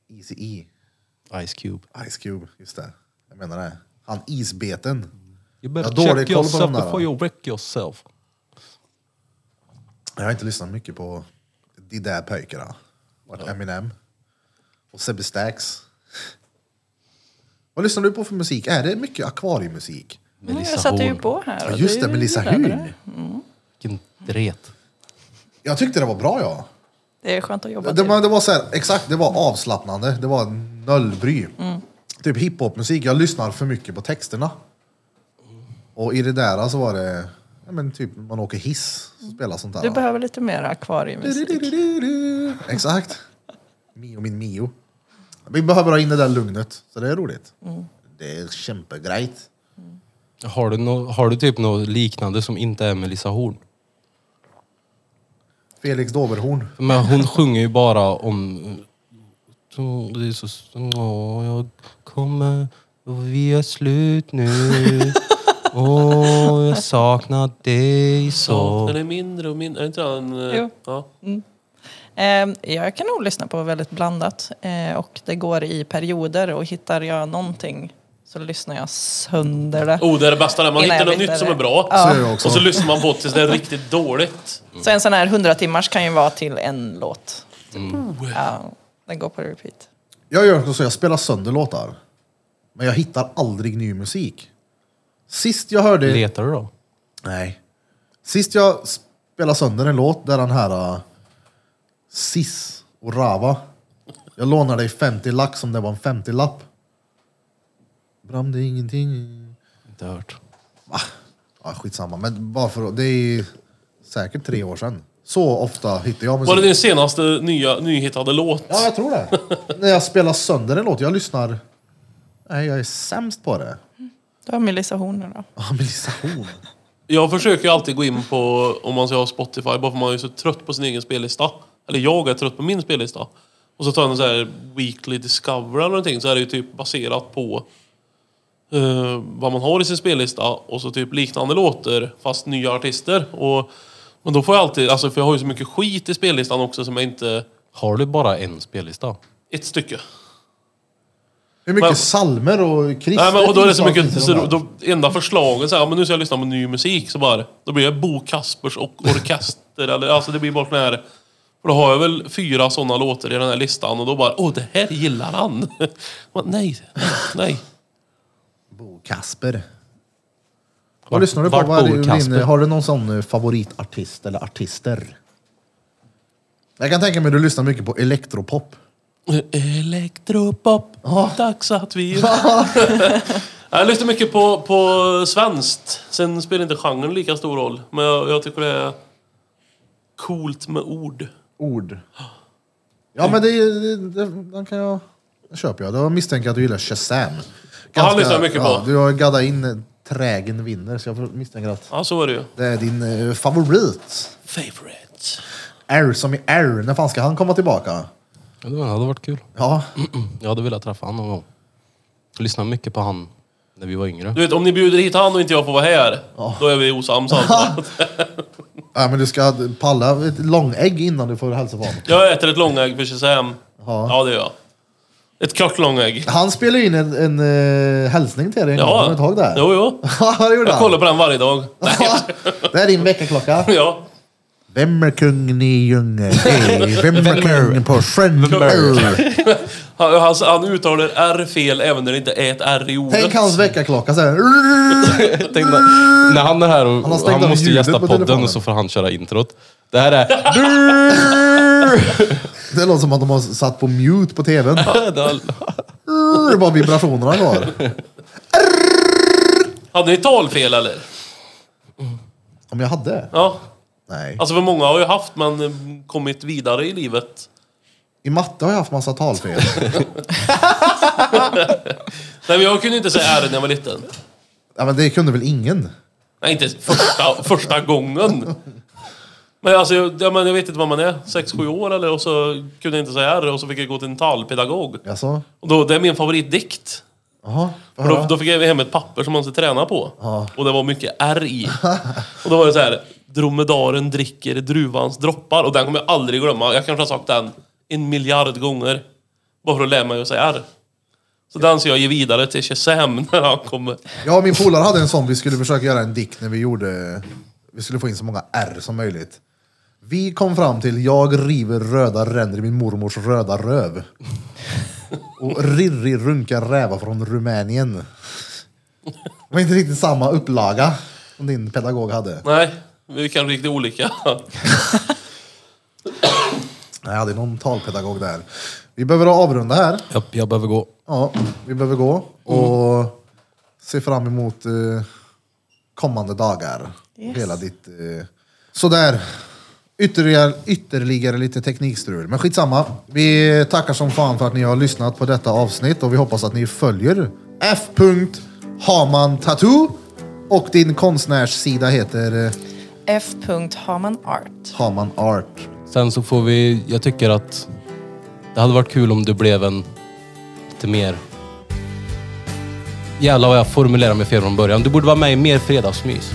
Easy E. Ice Cube. Ice Cube. Just det. Jag menar det. Han isbeten. You better Ja, dålig check koll på yourself de där, before va? you wreck yourself. Jag har inte lyssnat mycket på de där pojkarna. Vart Eminem. Och Sebbe Stax. Vad lyssnar du på för musik? Är det mycket akvariemusik? mm, jag Melissa satte ju Horn. på här. Ja, och just det, du Melissa gillade Huyn. det. Vilken dret. Jag tyckte det var bra ja. Det är skönt att jobba Det till. var, det var så här, exakt, det var avslappnande. Det var noll bry. Typ hiphopmusik. Jag lyssnar för mycket på texterna. Och i det där så var det, ja, men typ man åker hiss och spelar sånt där. Du behöver lite mer akvariemusik. Exakt. Mio min Mio. Vi behöver ha in det där lugnet, så det är roligt. Det är kämpegrejt. Har du, nå- har du typ något liknande som inte är Melissa Horn? Felix Doberhorn. Men hon sjunger ju bara om... Så- Det är så... Åh, jag kommer och vi är slut nu. Åh, jag saknar dig så. Den är mindre och mindre. Är inte han... eh, Jo. Ja. Ehm, Jag kan nog lyssna på väldigt blandat eh, och det går i perioder och hittar jag någonting så lyssnar jag sönder det. Oh, det är det bästa där. Man Innan hittar jag något vet nytt som det. är bra. Så är det också. Och så lyssnar man på det tills det är riktigt dåligt. Mm. Så en sån här 100 timmars kan ju vara till en låt. Typ. Ja, den går på repeat. Jag gör så, jag spelar sönder låtar. Men jag hittar aldrig ny musik. Sist jag hörde... Letar du då? Nej. Sist jag spelade sönder en låt där den här uh, Sis och Rava. Jag lånade dig 50 lax som det var en 50-lapp. Bram, det är ingenting. Inte hört. Ja, skitsamma, men bara för att- Det är säkert tre år sedan. Så ofta hittar jag musik. Var det din senaste nya, nyhittade låt? Ja, jag tror det. När jag spelar sönder en låt, jag lyssnar... Nej, jag är sämst på det. Då har Melissa Horn nu då. Ja, Melissa Horn. Jag försöker ju alltid gå in på, om man ska ha Spotify, bara för man är ju så trött på sin egen spellista. Eller jag är trött på min spellista. Och så tar jag en sån här Weekly Discover eller någonting, så är det ju typ baserat på eh, vad man har i sin spellista och så typ liknande låtar fast nya artister. Och, men då får jag alltid, alltså för jag har ju så mycket skit i spellistan också som jag inte... Har du bara en spellista? Ett stycke. Hur mycket Men- salmer och kristet Nej, men, och då är det så inslag mycket, finns så i de här? då, enda förslagen så här, ja, men nu ska jag lyssna på ny musik, så bara, då blir det Bo Kaspers och orkester, eller alltså det blir bara den här, för då har jag väl fyra sådana låtar i den här listan och då bara, åh det här gillar han! Men nej, nej. Bo Kasper. Vad lyssnar du på? vart Vad bor är din, Kasper? har du någon sån eh, favoritartist eller artister? Jag kan tänka mig att du lyssnar mycket på elektropop. Elektropop, dags att vi... jag lyssnar mycket på, på svenskt, sen spelar inte genren lika stor roll, men jag, jag tycker det är coolt med ord. Ord. Ja, men det, det, det den kan jag... Den köper jag. Då misstänker jag att du gillar Shazam. Ganska- lyssnar jag mycket ja, på. Du har gaddat in eh, Trägen vinner, så jag misstänker att Ja, så är det ju. det är din eh, favorit. Favorite. R som i R. När fan ska han komma tillbaka? Ja, det hade varit kul. Ja, Jag hade velat träffa han någon gång. Jag lyssnade mycket på han när vi var yngre. Du vet, om ni bjuder hit han och inte jag får vara här, då är vi osams alltså. ja men du ska palla ett långägg innan du får hälsa på honom. Jag äter ett långägg för 25. Ja. Ja, det gör jag. Ett kort långägg. Han spelade in en, en eh, hälsning till dig en gång, kommer du ihåg det? Jo, jo. Ja, det gjorde Jag han. kollar på den varje dag. Nej, Det är din väckarklocka. ja. Vem är kungen i djungeln? Hey, vem är kungen på sjön? Hey. Han, han, han uttalar R fel även när det inte är ett R i ordet. Tänk hans väckarklocka så här. Jag tänkte, när han är här och har han, stängt av måste ljudet gästa på podden telefonen. och så får han köra introt. Det här är... Det låter som att de har satt på mute på tvn. Det är bara vibrationerna kvar. Hade ni talfel eller? Om jag hade? Ja. Nej. Alltså för många har ju haft men eh, kommit vidare i livet. I matte har jag haft massa talfel. Nej men jag kunde inte säga R när jag var liten. Ja, men det kunde väl ingen? Nej inte första, första gången. Men alltså jag, jag, men jag vet inte vad man är. sex sju år eller? Och så kunde jag inte säga R och så fick jag gå till en talpedagog. Jaså? Och då, det är min favoritdikt. Jaha? får Och då, höra. då fick jag hem ett papper som man ska träna på. Och det var mycket R i. Och då var det så här. Dromedaren dricker druvans droppar. Och den kommer jag aldrig glömma. Jag kanske har sagt den en miljard gånger. Bara för att lära mig att säga R. Så den ska jag ge vidare till Shazam när han kommer. Jag och min polare hade en sån, vi skulle försöka göra en dikt när vi gjorde, vi skulle få in så många R som möjligt. Vi kom fram till, jag river röda ränder i min mormors röda röv. Och Rirri runkar räva från Rumänien. Det var inte riktigt samma upplaga som din pedagog hade. Nej, vi kan riktigt olika. Nej, jag hade någon talpedagog där. Vi behöver avrunda här. jag, jag behöver gå. Ja, vi behöver gå och se fram emot eh, kommande dagar. Yes. Hela ditt... Eh, sådär. Ytterligare, ytterligare lite teknikstrul. Men skitsamma. Vi tackar som fan för att ni har lyssnat på detta avsnitt och vi hoppas att ni följer F. Haman Tattoo och din konstnärssida heter eh, F. Haman Art. Haman Art. Sen så får vi... Jag tycker att det hade varit kul om du blev en lite mer... Jävlar vad jag formulerar mig fel från början. Du borde vara med i mer fredagsmys.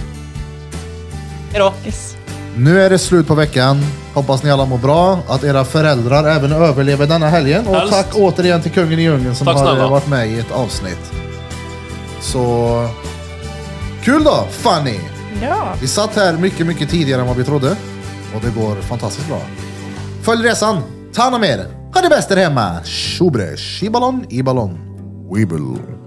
Hejdå! Yes. Nu är det slut på veckan. Hoppas ni alla mår bra, att era föräldrar även överlever denna helgen. Och Helst. tack återigen till kungen i djungeln som Tack har snälla. eh, varit med i ett avsnitt. Så... Kul då, Fanny! Ja, Vi satt här mycket, mycket tidigare än vad vi trodde. Och det går fantastiskt bra. Följ resan, ta hand om er, ha det bäst där hemma! Tjobre, shibalon, ibalon, weebel.